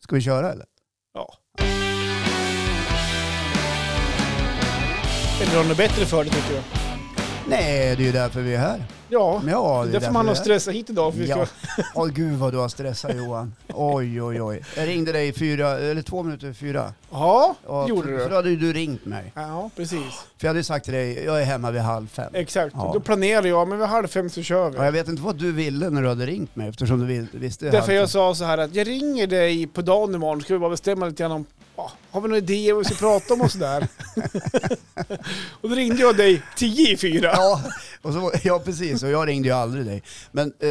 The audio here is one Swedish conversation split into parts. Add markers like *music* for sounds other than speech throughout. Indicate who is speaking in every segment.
Speaker 1: Ska vi köra eller?
Speaker 2: Ja. Eller har något bättre för det tycker jag.
Speaker 1: Nej, det är ju därför vi är här.
Speaker 2: Ja,
Speaker 1: Ja,
Speaker 2: det är
Speaker 1: det är
Speaker 2: därför man har
Speaker 1: vi är här.
Speaker 2: stressat hit idag. För vi ska...
Speaker 1: Ja. Åh gud vad du har stressat Johan. Oj, oj, oj. Jag ringde dig i fyra, eller två minuter i fyra.
Speaker 2: ja.
Speaker 1: Och
Speaker 2: gjorde
Speaker 1: För då
Speaker 2: du.
Speaker 1: hade ju du ringt mig.
Speaker 2: Ja, precis.
Speaker 1: För jag hade ju sagt till dig, jag är hemma vid halv fem.
Speaker 2: Exakt.
Speaker 1: Ja.
Speaker 2: Då planerade jag, men vid halv fem så kör vi.
Speaker 1: Ja, jag vet inte vad du ville när du hade ringt mig eftersom du vill- visste halv
Speaker 2: Därför
Speaker 1: fem.
Speaker 2: jag sa så här att jag ringer dig på dagen imorgon, ska vi bara bestämma lite grann om, ja, har vi några idéer vad vi ska prata om och sådär. *laughs* och då ringde jag dig tio i fyra.
Speaker 1: Ja, och så, ja, precis. Och jag ringde ju aldrig dig. Men eh,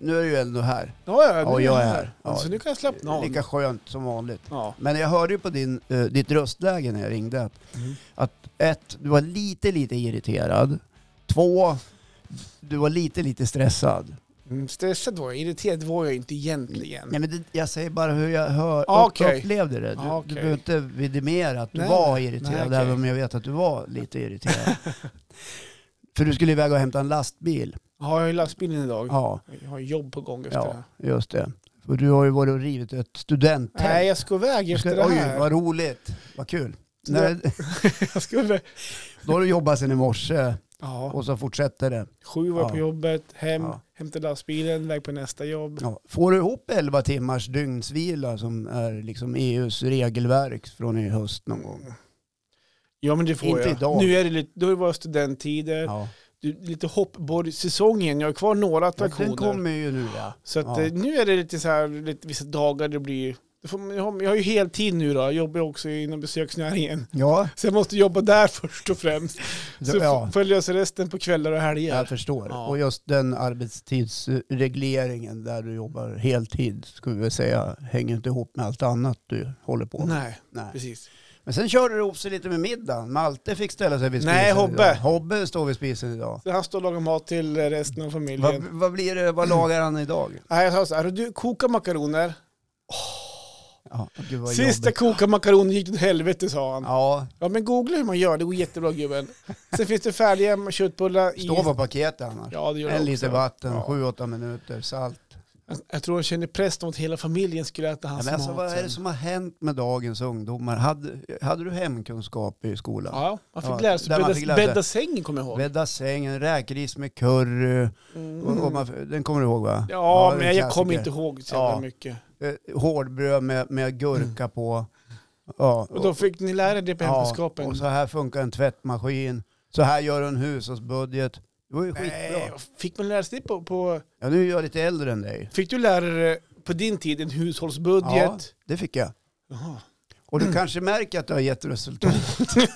Speaker 1: nu är du ju ändå här.
Speaker 2: Ja, ja,
Speaker 1: Ja,
Speaker 2: nu
Speaker 1: jag är
Speaker 2: jag
Speaker 1: här. Ja.
Speaker 2: Så nu kan jag slappna av.
Speaker 1: Lika skönt som vanligt.
Speaker 2: Ja.
Speaker 1: Men jag hörde ju på din, eh, ditt röstläge när jag ringde att,
Speaker 2: Mm.
Speaker 1: att ett, du var lite, lite irriterad. Två, du var lite, lite stressad.
Speaker 2: Mm, stressad var jag, irriterad var jag inte egentligen.
Speaker 1: Nej, men det, jag säger bara hur jag hör,
Speaker 2: Ah,
Speaker 1: upp-
Speaker 2: okej.
Speaker 1: upplevde det. Du,
Speaker 2: Ah,
Speaker 1: du
Speaker 2: okej.
Speaker 1: behöver inte vidimera att du
Speaker 2: Nej,
Speaker 1: var
Speaker 2: nej.
Speaker 1: irriterad,
Speaker 2: Nej, okej.
Speaker 1: även om jag vet att du var lite
Speaker 2: *laughs*
Speaker 1: irriterad. För du skulle iväg och hämta en lastbil.
Speaker 2: Ja, jag har ju lastbilen idag.
Speaker 1: Ja,
Speaker 2: Jag har jobb på gång efter det
Speaker 1: ja
Speaker 2: här.
Speaker 1: just det. För du har ju varit och rivit ett studenttält.
Speaker 2: Nej, jag ska iväg
Speaker 1: Du
Speaker 2: efter
Speaker 1: ska,
Speaker 2: det
Speaker 1: oj,
Speaker 2: här.
Speaker 1: vad roligt. Vad kul.
Speaker 2: Så
Speaker 1: När,
Speaker 2: *laughs* Jag ska iväg.
Speaker 1: då har du jobbat sedan i morse
Speaker 2: Ja,
Speaker 1: och så fortsätter det.
Speaker 2: sju var jag
Speaker 1: Ja.
Speaker 2: på jobbet, hem,
Speaker 1: Ja.
Speaker 2: hämta lastbilen, iväg på nästa jobb.
Speaker 1: Ja. Får du ihop 11 timmars dygnsvila som är liksom EUs regelverk från i höst någon gång?
Speaker 2: Ja, men det får
Speaker 1: Inte
Speaker 2: jag.
Speaker 1: idag.
Speaker 2: Nu är det lite, då är det bara studenttider.
Speaker 1: Ja.
Speaker 2: Du, lite hoppborgssäsongen, jag har kvar några
Speaker 1: Ja,
Speaker 2: attraktioner.
Speaker 1: Den kommer ju nu ja.
Speaker 2: Så att,
Speaker 1: Ja.
Speaker 2: eh, nu är det lite så här, lite, vissa dagar det blir... då får man- Jag har, jag har ju heltid nu då, jag jobbar ju också inom besöksnäringen. *laughs*
Speaker 1: Ja,
Speaker 2: Så jag måste jobba där först och främst. Så
Speaker 1: ja.
Speaker 2: f- får jag lösa resten på kvällar och helger.
Speaker 1: jag förstår.
Speaker 2: Ja.
Speaker 1: Och just den arbetstidsregleringen där du jobbar heltid skulle vi väl säga hänger inte ihop med allt annat du håller på med.
Speaker 2: Nej,
Speaker 1: Nej.
Speaker 2: precis.
Speaker 1: Men sen körde du ihop sig lite med middagen. Malte fick ställa sig vid spisen
Speaker 2: Nej,
Speaker 1: idag.
Speaker 2: Hobbe.
Speaker 1: Hobbe står vid spisen idag.
Speaker 2: Så han står och lagar mat till eh, resten av familjen.
Speaker 1: Vad, vad blir det, vad lagar han idag?
Speaker 2: Nej, jag sa så här, du kokar makaroner.
Speaker 1: Ja, gud vad
Speaker 2: Sist jag
Speaker 1: jobbigt.
Speaker 2: kokade makaroner gick det åt helvete sa han. Ja.
Speaker 1: Ja,
Speaker 2: men googla hur man gör, det går jättebra gubben. Sen finns det färdiga köttbullar i...
Speaker 1: står på paketet annars.
Speaker 2: Ja det gör
Speaker 1: en
Speaker 2: det
Speaker 1: liter
Speaker 2: också.
Speaker 1: vatten,
Speaker 2: Ja.
Speaker 1: 7-8 minuter, salt.
Speaker 2: Jag, jag tror han kände press om att hela familjen skulle
Speaker 1: Ja,
Speaker 2: äta hans
Speaker 1: men alltså,
Speaker 2: mat.
Speaker 1: vad är det
Speaker 2: sen.
Speaker 1: som har hänt med dagens ungdomar? Hade, hade du hemkunskap i skolan?
Speaker 2: Ja, man fick
Speaker 1: Ja,
Speaker 2: lära sig
Speaker 1: där man
Speaker 2: bädda,
Speaker 1: fick lära sig.
Speaker 2: bädda sängen kommer jag ihåg.
Speaker 1: Bädda sängen, räkris med curry.
Speaker 2: Mm.
Speaker 1: Och, och man, den kommer du ihåg va?
Speaker 2: Ja,
Speaker 1: det är
Speaker 2: men
Speaker 1: en
Speaker 2: jag kommer inte
Speaker 1: klassiker.
Speaker 2: ihåg så
Speaker 1: Ja.
Speaker 2: jävla mycket.
Speaker 1: Eh, Hårdbröd med, med gurka på. Ja,
Speaker 2: Och då fick ni lära er det på hemkunskapen.
Speaker 1: och så här funkar en tvättmaskin. Så här gör du en hushållsbudget. Det var ju
Speaker 2: Nej,
Speaker 1: skitbra.
Speaker 2: fick man lära sig det på, på...
Speaker 1: Ja, nu är jag lite äldre än dig.
Speaker 2: Fick du lära dig på din tid en
Speaker 1: Ja,
Speaker 2: hushållsbudget?
Speaker 1: det fick jag.
Speaker 2: Jaha.
Speaker 1: Och du kanske märker att det har gett resultat.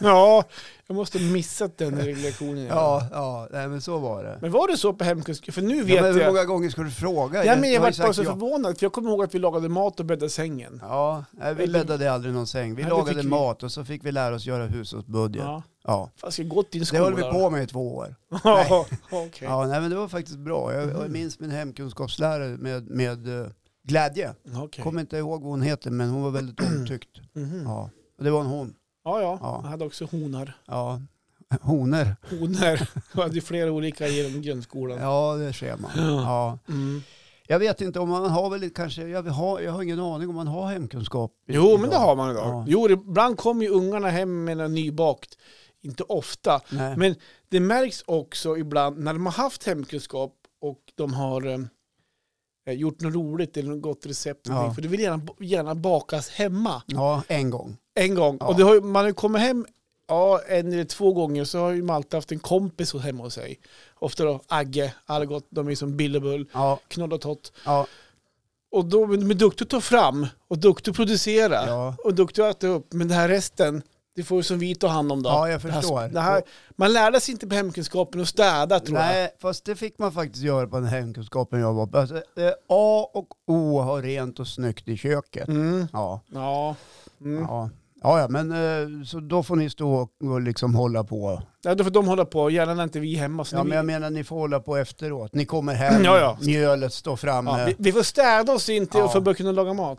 Speaker 2: Ja, jag måste ha missat den här lektionen.
Speaker 1: Ja, ja nej, men så var det.
Speaker 2: Men var det så på hemkunskap? För nu
Speaker 1: Ja,
Speaker 2: vet
Speaker 1: men hur
Speaker 2: jag.
Speaker 1: många gånger ska du fråga?
Speaker 2: Ja, men
Speaker 1: har ju
Speaker 2: jag var
Speaker 1: sagt
Speaker 2: bara så
Speaker 1: ja.
Speaker 2: förvånad, för jag kommer ihåg att vi lagade mat och bäddade sängen.
Speaker 1: Ja, nej, vi
Speaker 2: Eller-
Speaker 1: bäddade aldrig någon säng. Vi
Speaker 2: Nej, det
Speaker 1: lagade
Speaker 2: fick vi.
Speaker 1: mat och så fick vi lära oss göra hushållsbudget. Ja.
Speaker 2: Ja. Fan, ska jag gå till din
Speaker 1: Det
Speaker 2: skola?
Speaker 1: höll vi på med i två år.
Speaker 2: ja, *laughs* okej.
Speaker 1: Ja, nej, men det var faktiskt bra. Jag, jag
Speaker 2: Mhm.
Speaker 1: minns min hemkunskapslärare med, med eh, glädje.
Speaker 2: Okej.
Speaker 1: Kommer inte ihåg vad hon heter, men hon var väldigt omtyckt.
Speaker 2: Mhm.
Speaker 1: Ja, och det var en hon.
Speaker 2: Ja, ja.
Speaker 1: Ja.
Speaker 2: Jag hade också honar.
Speaker 1: Ja, *laughs* honor.
Speaker 2: Honor. *laughs* Jag hade ju flera olika genom grundskolan.
Speaker 1: Ja, det ser man. Ja.
Speaker 2: Mm.
Speaker 1: Jag vet inte om man har väl kanske, jag har, jag har ingen aning om man har hemkunskap. i-
Speaker 2: Jo, men
Speaker 1: idag.
Speaker 2: det har man idag.
Speaker 1: Ja.
Speaker 2: Jo, det- ibland kommer ju ungarna hem med något nybakt. Inte ofta,
Speaker 1: Nej.
Speaker 2: Men det märks också ibland när de har haft hemkunskap och de har eh, gjort något roligt eller något gott recept.
Speaker 1: Ja.
Speaker 2: Ja. För det vill gärna, gärna bakas hemma
Speaker 1: Ja, en gång.
Speaker 2: en gång.
Speaker 1: Ja.
Speaker 2: Och det har, ju- man har ju kommit hem ja, en eller två gånger så har ju Malte haft en kompis hos- hemma hos sig. Ofta då Agge, Algot, de är som Billebull,
Speaker 1: Ja,
Speaker 2: Knoll och Tott.
Speaker 1: ja,
Speaker 2: Och de, de är duktiga att ta fram och duktiga att producera
Speaker 1: ja.
Speaker 2: och duktiga att äta upp. Men det här resten, det får ju som vi ta hand om då.
Speaker 1: ja jag
Speaker 2: Det här-
Speaker 1: förstår.
Speaker 2: Det här, man lärde sig inte på hemkunskapen att städa tror jag.
Speaker 1: Nej, fast det fick man faktiskt göra på den hemkunskapen jag var på. Alltså, eh, A och O har rent och snyggt i köket.
Speaker 2: Mm.
Speaker 1: Ja,
Speaker 2: Ja. Mm. Ja.
Speaker 1: ja. Ja, ja, men eh, så då får ni stå och liksom hålla på.
Speaker 2: Då får de hålla på, gärna när inte vi är hemma. Så
Speaker 1: Ja,
Speaker 2: när
Speaker 1: men jag menar ni får hålla på efteråt. Ni kommer hem,
Speaker 2: Ja, ja.
Speaker 1: mjölet står framme.
Speaker 2: vi,
Speaker 1: Ja,
Speaker 2: ja, vi, vi får städa oss in till
Speaker 1: eh, Ja.
Speaker 2: och för att börja kunna laga mat.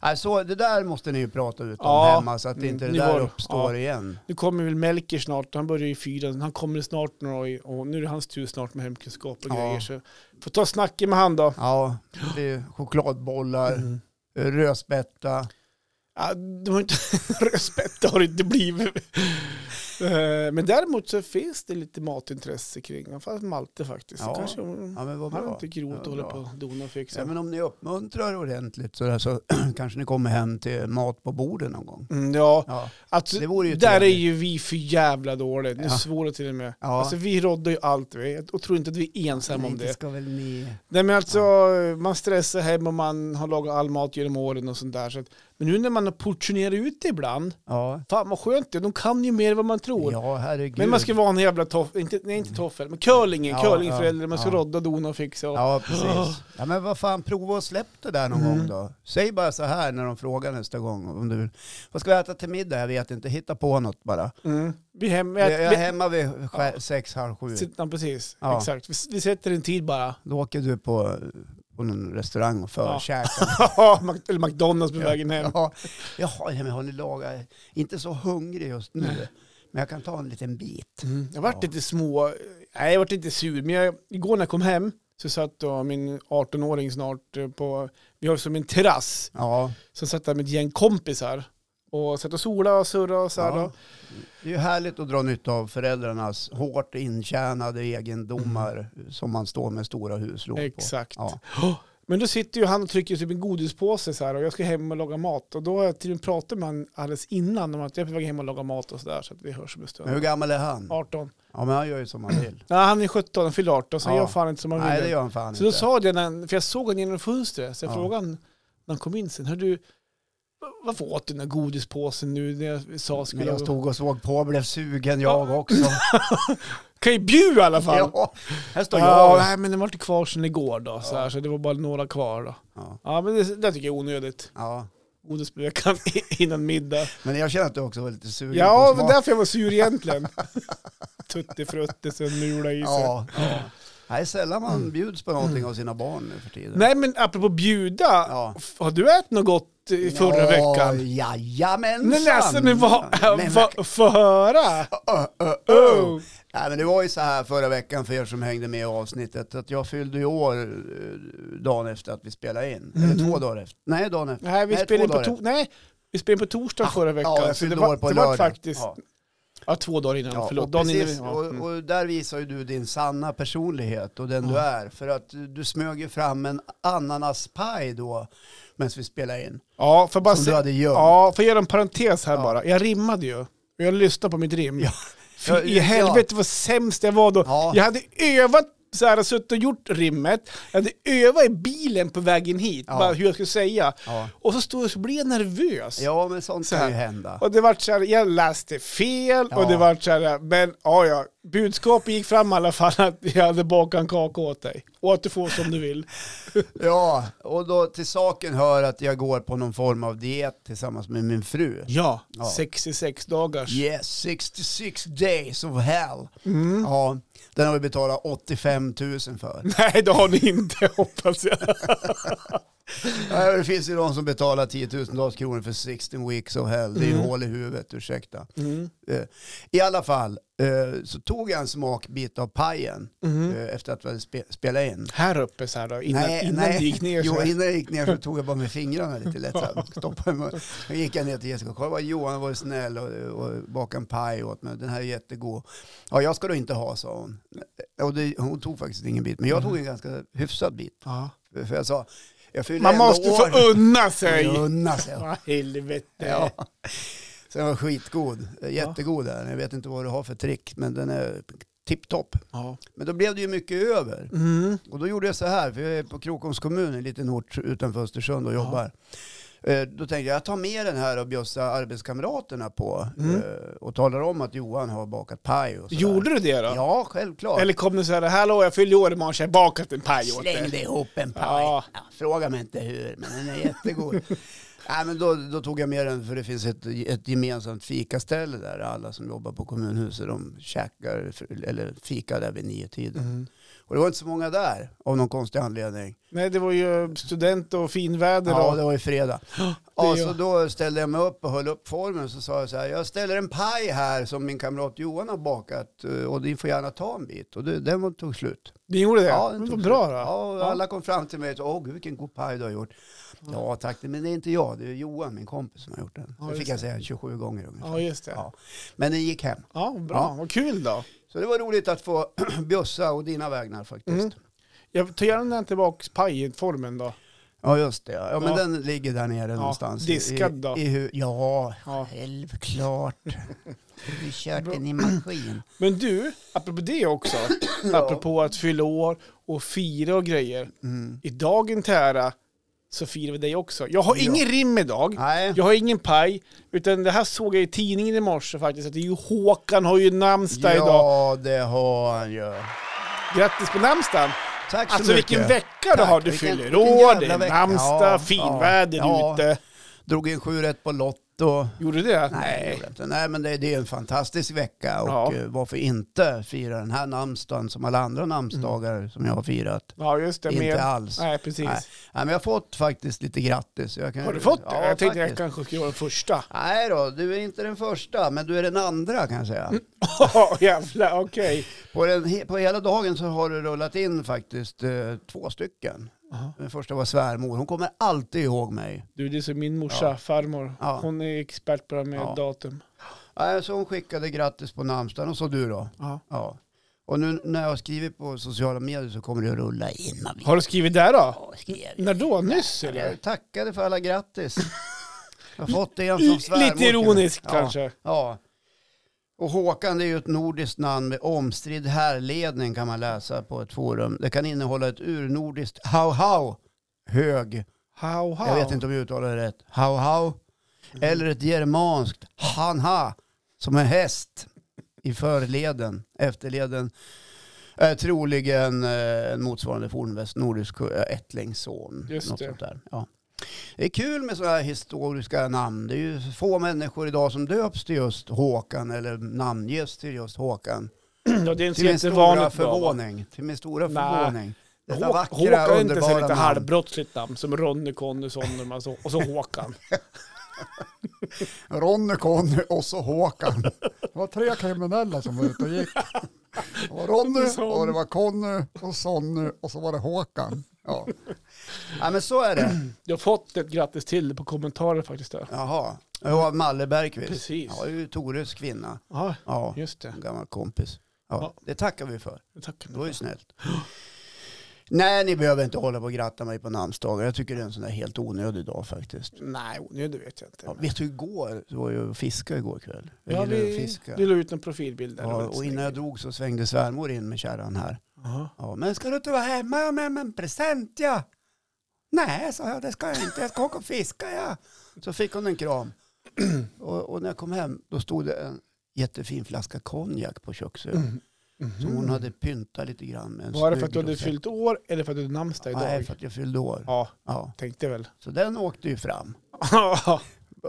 Speaker 1: Alltså, det där måste ni ju prata ut om
Speaker 2: Ja.
Speaker 1: hemma så att inte det
Speaker 2: Mm, ni
Speaker 1: där
Speaker 2: var-
Speaker 1: uppstår
Speaker 2: ja.
Speaker 1: igen.
Speaker 2: Nu kommer väl Melker snart, han börjar i fyran, han kommer snart nu och, och nu är det hans tur snart med hemkunskap och
Speaker 1: Ja.
Speaker 2: grejer. Så får ta snacket med han då.
Speaker 1: Ja, det är chokladbollar,
Speaker 2: Mm.
Speaker 1: rödspätta.
Speaker 2: Ja, de har inte, *laughs* rödspätta har det inte blivit. Eh, Men däremot så finns det lite matintresse kring, framförallt Malte faktiskt.
Speaker 1: Ja.
Speaker 2: Kanske hon,
Speaker 1: Ja, men vad
Speaker 2: han
Speaker 1: bra.
Speaker 2: tycker roligt
Speaker 1: Ja,
Speaker 2: att hålla
Speaker 1: bra.
Speaker 2: på och dona och fixa.
Speaker 1: Ja, men om ni uppmuntrar ordentligt så, där, så *clears throat* kanske ni kommer hem till mat på bordet någon gång.
Speaker 2: Mm, ja,
Speaker 1: Ja,
Speaker 2: alltså,
Speaker 1: det vore ju
Speaker 2: där är
Speaker 1: trevligt.
Speaker 2: ju vi för jävla dåligt. Nu
Speaker 1: Ja.
Speaker 2: svor det till och med.
Speaker 1: Ja.
Speaker 2: Alltså, vi roddar ju allt vi och tror inte att vi är ensamma
Speaker 1: Nej,
Speaker 2: om
Speaker 1: inte
Speaker 2: det.
Speaker 1: ska väl ni...
Speaker 2: Nej men alltså, man stressar hem och man har lagat all mat genom åren och sånt där. Så att, men nu när man har portionerat ut det ibland,
Speaker 1: Ja,
Speaker 2: fan vad skönt det är. De kan ju mer än vad man tror.
Speaker 1: ja herregud.
Speaker 2: Men man ska vara en jävla toffel, inte, nej inte toffel, men curlingen,
Speaker 1: Mm. Ja,
Speaker 2: curlingförälder,
Speaker 1: ja,
Speaker 2: man ska
Speaker 1: ja.
Speaker 2: rodda, dona och fixa. Och,
Speaker 1: Ja, precis. Ja, men vad fan, prova och släpp det där någon
Speaker 2: Mm.
Speaker 1: gång då. Säg bara så här när de frågar nästa gång. Om du vill. Vad ska vi äta till middag? Jag vet inte. Hitta på något bara.
Speaker 2: Mm. Vi hem, vi,
Speaker 1: Jag jag är
Speaker 2: vi,
Speaker 1: hemma vid skär, sex, halv sju.
Speaker 2: sitter- precis,
Speaker 1: Ja.
Speaker 2: exakt. Vi, vi sätter en
Speaker 1: *laughs*
Speaker 2: tid bara.
Speaker 1: Då åker du på, på någon restaurang och förkäkar.
Speaker 2: *laughs* Mac- Eller McDonalds på
Speaker 1: Ja.
Speaker 2: vägen hem.
Speaker 1: Ja. Jaha, ja, men har ni lagat? Jag är Inte så hungrig just nu. Men jag kan ta en liten bit.
Speaker 2: Mm. Jag vart
Speaker 1: Ja.
Speaker 2: lite små, nej jag vart inte sur, men jag, igår när jag kom hem så satt då min 18-åring snart eh, på, vi har som en terrass,
Speaker 1: Ja,
Speaker 2: så satt där med ett gäng kompisar och satt och sola och surra och så här
Speaker 1: Ja.
Speaker 2: då.
Speaker 1: det är ju härligt att dra nytta av föräldrarnas hårt intjänade egendomar som man står med stora huslån på.
Speaker 2: Mm. Exakt.
Speaker 1: Ja.
Speaker 2: Åh, Men då sitter ju han och trycker typ en godispåse så här och jag ska hem och laga mat och då har jag till och med pratat med honom alldeles innan om att jag är på väg hem och laga mat och så där så att vi hörs om en
Speaker 1: Men hur
Speaker 2: stund.
Speaker 1: gammal är han?
Speaker 2: 18.
Speaker 1: Ja, men han gör ju som han
Speaker 2: *clears throat*
Speaker 1: vill.
Speaker 2: Nej, han är 17, han fyller 18 så han
Speaker 1: Ja.
Speaker 2: gör fan inte som han
Speaker 1: Nej,
Speaker 2: vill.
Speaker 1: det gör han fan
Speaker 2: Så då
Speaker 1: inte.
Speaker 2: sa jag, när, han- för jag såg honom genom fönstret, så jag
Speaker 1: Ja.
Speaker 2: frågade honom när han kom in sen, hör du, varför åt du den där godispåsen nu när jag sa skulle
Speaker 1: Men jag
Speaker 2: jag
Speaker 1: stod och såg på och blev sugen jag
Speaker 2: *laughs*
Speaker 1: också.
Speaker 2: Kan ju bjuda i alla fall. Ja,
Speaker 1: ja, här står jag.
Speaker 2: nej, men den var inte kvar sedan igår då, så, här, så det var bara några kvar då.
Speaker 1: Ja,
Speaker 2: Ja, men det, det tycker jag är onödigt.
Speaker 1: ja.
Speaker 2: Godisbeveckan *laughs* innan middag.
Speaker 1: Men jag känner att du också var lite sugen
Speaker 2: Ja,
Speaker 1: på
Speaker 2: men
Speaker 1: smak.
Speaker 2: därför jag var
Speaker 1: *laughs*
Speaker 2: sur egentligen. Tuttifrutti, sen mula i sig.
Speaker 1: Ja, ja. Nej, sällan man bjuds på någonting av sina barn nu för tiden.
Speaker 2: Mm. Nej, men apropå bjuda,
Speaker 1: Ja.
Speaker 2: f- har du ätit något gott i förra veckan?
Speaker 1: Jajamensan!
Speaker 2: Nej, men alltså, men vad,
Speaker 1: Men-
Speaker 2: vad, få höra!
Speaker 1: Ö, ö, ö.
Speaker 2: Oh.
Speaker 1: Nej, men det var ju så här förra veckan för er som hängde med i avsnittet att jag fyllde ju år eh, dagen efter att vi spelade in.
Speaker 2: Mm.
Speaker 1: Eller två dagar efter. Nej, dagen efter.
Speaker 2: Nej, vi
Speaker 1: Nej,
Speaker 2: spelade in
Speaker 1: två dagar Ah,
Speaker 2: på to- nej, vi spelade in på torsdag förra veckan.
Speaker 1: Ja, jag
Speaker 2: så
Speaker 1: fyllde
Speaker 2: det var,
Speaker 1: år på
Speaker 2: det
Speaker 1: en
Speaker 2: var
Speaker 1: lördag.
Speaker 2: faktiskt, ja.
Speaker 1: Ja.
Speaker 2: två dagar innan,
Speaker 1: Ja,
Speaker 2: förlåt.
Speaker 1: och,
Speaker 2: Dagen innan,
Speaker 1: precis,
Speaker 2: vi- ja. mm.
Speaker 1: och, och där visar ju du din sanna personlighet och den du är. För att du smög ju fram en ananaspaj då medan vi spelade in.
Speaker 2: ja, för bara
Speaker 1: Som
Speaker 2: se-
Speaker 1: du hade gömt.
Speaker 2: Ja, för att göra en parentes här
Speaker 1: Ja.
Speaker 2: bara. Jag rimmade ju. Och jag lyssnade på mitt rim.
Speaker 1: Ja.
Speaker 2: Fy
Speaker 1: Ja,
Speaker 2: i
Speaker 1: ja.
Speaker 2: helvete vad sämst jag var då.
Speaker 1: Ja.
Speaker 2: Jag hade övat så här, suttit och gjort rimmet. Jag hade övat i bilen på vägen hit,
Speaker 1: Ja.
Speaker 2: bara hur jag skulle säga.
Speaker 1: Ja.
Speaker 2: Och så stod jag och så blev jag nervös.
Speaker 1: Ja, men sånt
Speaker 2: Så
Speaker 1: kan
Speaker 2: här.
Speaker 1: ju hända.
Speaker 2: Och det vart så här, jag läste fel
Speaker 1: Ja.
Speaker 2: och det vart så här, men ja, ja, budskapet gick fram i alla fall att jag hade bakat en kaka åt dig. Och att du får som du vill.
Speaker 1: Ja, och då till saken hör att jag går på någon form av diet tillsammans med min fru.
Speaker 2: Ja,
Speaker 1: Ja.
Speaker 2: 66 dagars.
Speaker 1: Yes, 66 days of hell. Ja, den har vi betalat 85 000 för.
Speaker 2: Nej, det har ni inte *laughs* hoppas jag.
Speaker 1: Ja, Det finns ju de som betalar 10 000 kronor för 16 weeks of hell. Det är ju hål i huvudet, ursäkta. Eh, I alla fall eh, så tog jag en smakbit av pajen eh, efter att vi hade spe- spelat in.
Speaker 2: Här uppe så här då, innan, innan du gick ner så
Speaker 1: Jo,
Speaker 2: här.
Speaker 1: innan jag gick ner så tog jag bara med fingrarna lite lätt. så
Speaker 2: *laughs*
Speaker 1: här, Stoppade mig. Då gick jag ner till Jessica. Kolla vad Johan var snäll och, och bakade en paj åt mig. Den här är jättegod. Ja, jag ska då inte ha, sa hon. Och det, hon tog faktiskt ingen bit, men jag
Speaker 2: Mm.
Speaker 1: tog en ganska hyfsad bit.
Speaker 2: Ja.
Speaker 1: För jag sa, jag fyller
Speaker 2: Man
Speaker 1: ändå
Speaker 2: måste
Speaker 1: år.
Speaker 2: få unna sig.
Speaker 1: Jag unnar sig.
Speaker 2: Ja, helvete.
Speaker 1: Ja. Så den var skitgod. Jättegod där. Jag vet inte vad du har för trick, men den är tipptopp.
Speaker 2: Ja.
Speaker 1: Men då blev det ju mycket över.
Speaker 2: Mm.
Speaker 1: Och då gjorde jag så här, för jag är på Krokoms kommun, en liten ort utanför Östersund och jobbar. Eh, Då tänkte jag, jag tar med den här och bjussar arbetskamraterna på eh, och talar om att Johan har bakat paj och sådär.
Speaker 2: Mm. Gjorde du det då?
Speaker 1: Ja, självklart.
Speaker 2: Eller kom du så här, hallå jag fyllde år imorgon så jag har bakat en paj åt dig.
Speaker 1: Slängde ihop en paj.
Speaker 2: Ja.
Speaker 1: Ja. fråga mig inte hur, men den är
Speaker 2: *laughs*
Speaker 1: jättegod. Nej, men då, då tog jag med den, för det finns ett, ett gemensamt fikaställe där alla som jobbar på kommunhuset, de
Speaker 2: Mm.
Speaker 1: käkar, eller fikar där vid nio tiden. Och det var inte så många där, av någon konstig anledning.
Speaker 2: Nej, det var ju student och finväder.
Speaker 1: Ja,
Speaker 2: och...
Speaker 1: det var ju fredag.
Speaker 2: det
Speaker 1: Ja,
Speaker 2: är jag.
Speaker 1: så då ställde jag mig upp och höll upp formen. Så sa jag så här, jag ställer en paj här som min kamrat Johan har bakat eh, och ni får gärna ta en bit. Och det, den var- tog slut.
Speaker 2: Det gjorde det?
Speaker 1: Ja,
Speaker 2: men
Speaker 1: tog
Speaker 2: vad
Speaker 1: slut.
Speaker 2: bra då.
Speaker 1: Ja, och alla kom fram till mig och sa, åh gud vilken god paj du har gjort. Ja tack, men det är inte jag, det är Johan, min kompis som har gjort den.
Speaker 2: Ja,
Speaker 1: det
Speaker 2: just
Speaker 1: fick jag säga 27 gånger ungefär.
Speaker 2: Ja, just det. Ja,
Speaker 1: Ja. Men den gick hem.
Speaker 2: bra.
Speaker 1: Ja.
Speaker 2: Vad kul då.
Speaker 1: Så det var roligt att få *clears throat* bjussa och dina vägnar faktiskt.
Speaker 2: Mm. Jag tar gärna den tillbaka pajformen då.
Speaker 1: Ja just det, ja, men
Speaker 2: Ja.
Speaker 1: den ligger där nere någonstans. i-
Speaker 2: diskad då.
Speaker 1: I, i, hu- ja,
Speaker 2: Ja.
Speaker 1: självklart.
Speaker 2: *laughs*
Speaker 1: Du kört den i
Speaker 2: *clears throat*
Speaker 1: maskin.
Speaker 2: Men du, apropå
Speaker 1: *clears throat*
Speaker 2: det också. Apropå att fylla år och fira och grejer.
Speaker 1: Mm.
Speaker 2: I dagen till ära så firar vi dig också. Jag har
Speaker 1: Ja.
Speaker 2: ingen rim idag.
Speaker 1: Nej,
Speaker 2: Jag har ingen paj, utan det här såg jag i tidningen i morse faktiskt. Att det är ju Håkan har ju namnsdag idag.
Speaker 1: ja det har han ju.
Speaker 2: Grattis på namnsdagen!
Speaker 1: Tack så
Speaker 2: Alltså
Speaker 1: mycket.
Speaker 2: vilken vecka du
Speaker 1: Tack.
Speaker 2: har! Du
Speaker 1: Vilken-
Speaker 2: fyller
Speaker 1: vilken
Speaker 2: år, det
Speaker 1: jävla
Speaker 2: är
Speaker 1: vecka.
Speaker 2: namnsdag,
Speaker 1: Ja,
Speaker 2: finväder
Speaker 1: ja, ja.
Speaker 2: ute.
Speaker 1: Drog in sju rätt på Lotto.
Speaker 2: Gjorde du det?
Speaker 1: Nej, det gjorde jag inte. Nej men det, det är en fantastisk vecka och
Speaker 2: Ja.
Speaker 1: eh, varför inte fira den här namnsdagen som alla andra namnsdagar som jag har firat.
Speaker 2: Ja, just det.
Speaker 1: Inte
Speaker 2: Med...
Speaker 1: alls.
Speaker 2: Mm. Nej, precis.
Speaker 1: Nej. Nej, men jag har fått faktiskt lite grattis. Jag kan,
Speaker 2: Har du fått det?
Speaker 1: Ja,
Speaker 2: jag tänkte jag
Speaker 1: faktiskt.
Speaker 2: kanske skulle vara den första. *laughs*
Speaker 1: Nej då, du är inte den första, men du är den andra kan jag säga.
Speaker 2: Mm. Ja, jävlar, okej.
Speaker 1: På, den, he- på hela dagen så har det rullat in faktiskt eh, två stycken. Den första var svärmor, hon kommer alltid ihåg mig.
Speaker 2: Du, det är som min morsa, farmor.
Speaker 1: Ja.
Speaker 2: Hon är expert på det här med
Speaker 1: Ja.
Speaker 2: datum.
Speaker 1: Nej, Så hon skickade grattis på namnsdagen och så du då.
Speaker 2: Ja.
Speaker 1: Ja. Och nu när jag har skrivit på sociala medier så kommer det att rulla in. Man vet
Speaker 2: Har du skrivit där då?
Speaker 1: vad jag skrev.
Speaker 2: När då? Nyss eller?
Speaker 1: Jag tackade för alla
Speaker 2: *laughs*
Speaker 1: grattis. Jag har fått det en
Speaker 2: L-
Speaker 1: som svärmor.
Speaker 2: Lite ironiskt
Speaker 1: Ja.
Speaker 2: kanske.
Speaker 1: Ja. Och Håkan det är ju ett nordiskt namn med omstridd härledning kan man läsa på ett forum. Det kan innehålla ett urnordiskt hau hau, hög,
Speaker 2: How, how.
Speaker 1: jag vet inte om jag uttalar det rätt, hau hau. Eller ett germanskt hanha, som en häst i förleden, efterleden. Är troligen eh, en motsvarande fornvästnordisk eh, ättlingsson.
Speaker 2: Just
Speaker 1: något
Speaker 2: det.
Speaker 1: Sånt där. Ja. Det är kul med sådana här historiska namn. Det är ju få människor idag som döps till just Håkan eller namnges till just Håkan.
Speaker 2: Ja, det är
Speaker 1: Till
Speaker 2: inte så
Speaker 1: min stora
Speaker 2: jättevanligt. bra, va?
Speaker 1: förvåning. Till min stora
Speaker 2: Nej.
Speaker 1: förvåning. Detta
Speaker 2: Hå-
Speaker 1: vackra,
Speaker 2: Håkan är inte så
Speaker 1: underbara
Speaker 2: lite
Speaker 1: namn.
Speaker 2: halvbrottsligt namn som Ronny, Conny, Sonnerman och så, och så Håkan.
Speaker 1: Ronny, Conny och så Håkan.
Speaker 3: Det var tre kriminella som var ute och gick.
Speaker 2: *laughs*
Speaker 3: Det var Ronny, och det var Conny, och Sonny och så var det Håkan.
Speaker 1: Ja. ja, men så är det.
Speaker 2: Jag har fått ett grattis till på kommentarer faktiskt. Där.
Speaker 1: Jaha. Ja, Malle Bergqvist.
Speaker 2: Precis.
Speaker 1: Ja, det är ju Tores kvinna.
Speaker 2: Ja,
Speaker 1: Ja,
Speaker 2: just det.
Speaker 1: en gammal kompis. Ja,
Speaker 2: Ja.
Speaker 1: Det tackar vi för.
Speaker 2: Tack.
Speaker 1: Det var ju snällt. Nej, ni behöver inte hålla på och gratta mig på namnsdagar. Jag tycker det är en sån där helt onödig dag faktiskt.
Speaker 2: Nej, nu det vet jag inte.
Speaker 1: Ja, vet du, igår så var jag och fiskade igår kväll. Jag
Speaker 2: Ja,
Speaker 1: gillar att
Speaker 2: vi,
Speaker 1: fiska.
Speaker 2: vi la ut en profilbild där.
Speaker 1: Ja, och innan jag drog så svängde svärmor in med kärran här.
Speaker 2: Aha.
Speaker 1: Ja, men ska du inte vara hemma? Jag har med mig en present, ja. Nej, sa jag, det ska jag inte. Jag ska åka och fiska, ja. Så fick hon en kram. *clears throat* Och, och när jag kom hem, då stod det en jättefin flaska konjak på köksön.
Speaker 2: Mm.
Speaker 1: Som hon hade pyntat lite grann med en
Speaker 2: Var det för
Speaker 1: snygg
Speaker 2: att du hade
Speaker 1: rosett.
Speaker 2: fyllt år eller för att du hade namnsdag idag?
Speaker 1: Nej, för att jag fyllde år.
Speaker 2: Ja,
Speaker 1: Ja. *laughs*
Speaker 2: tänkte väl.
Speaker 1: Så den åkte ju fram.
Speaker 2: Ja,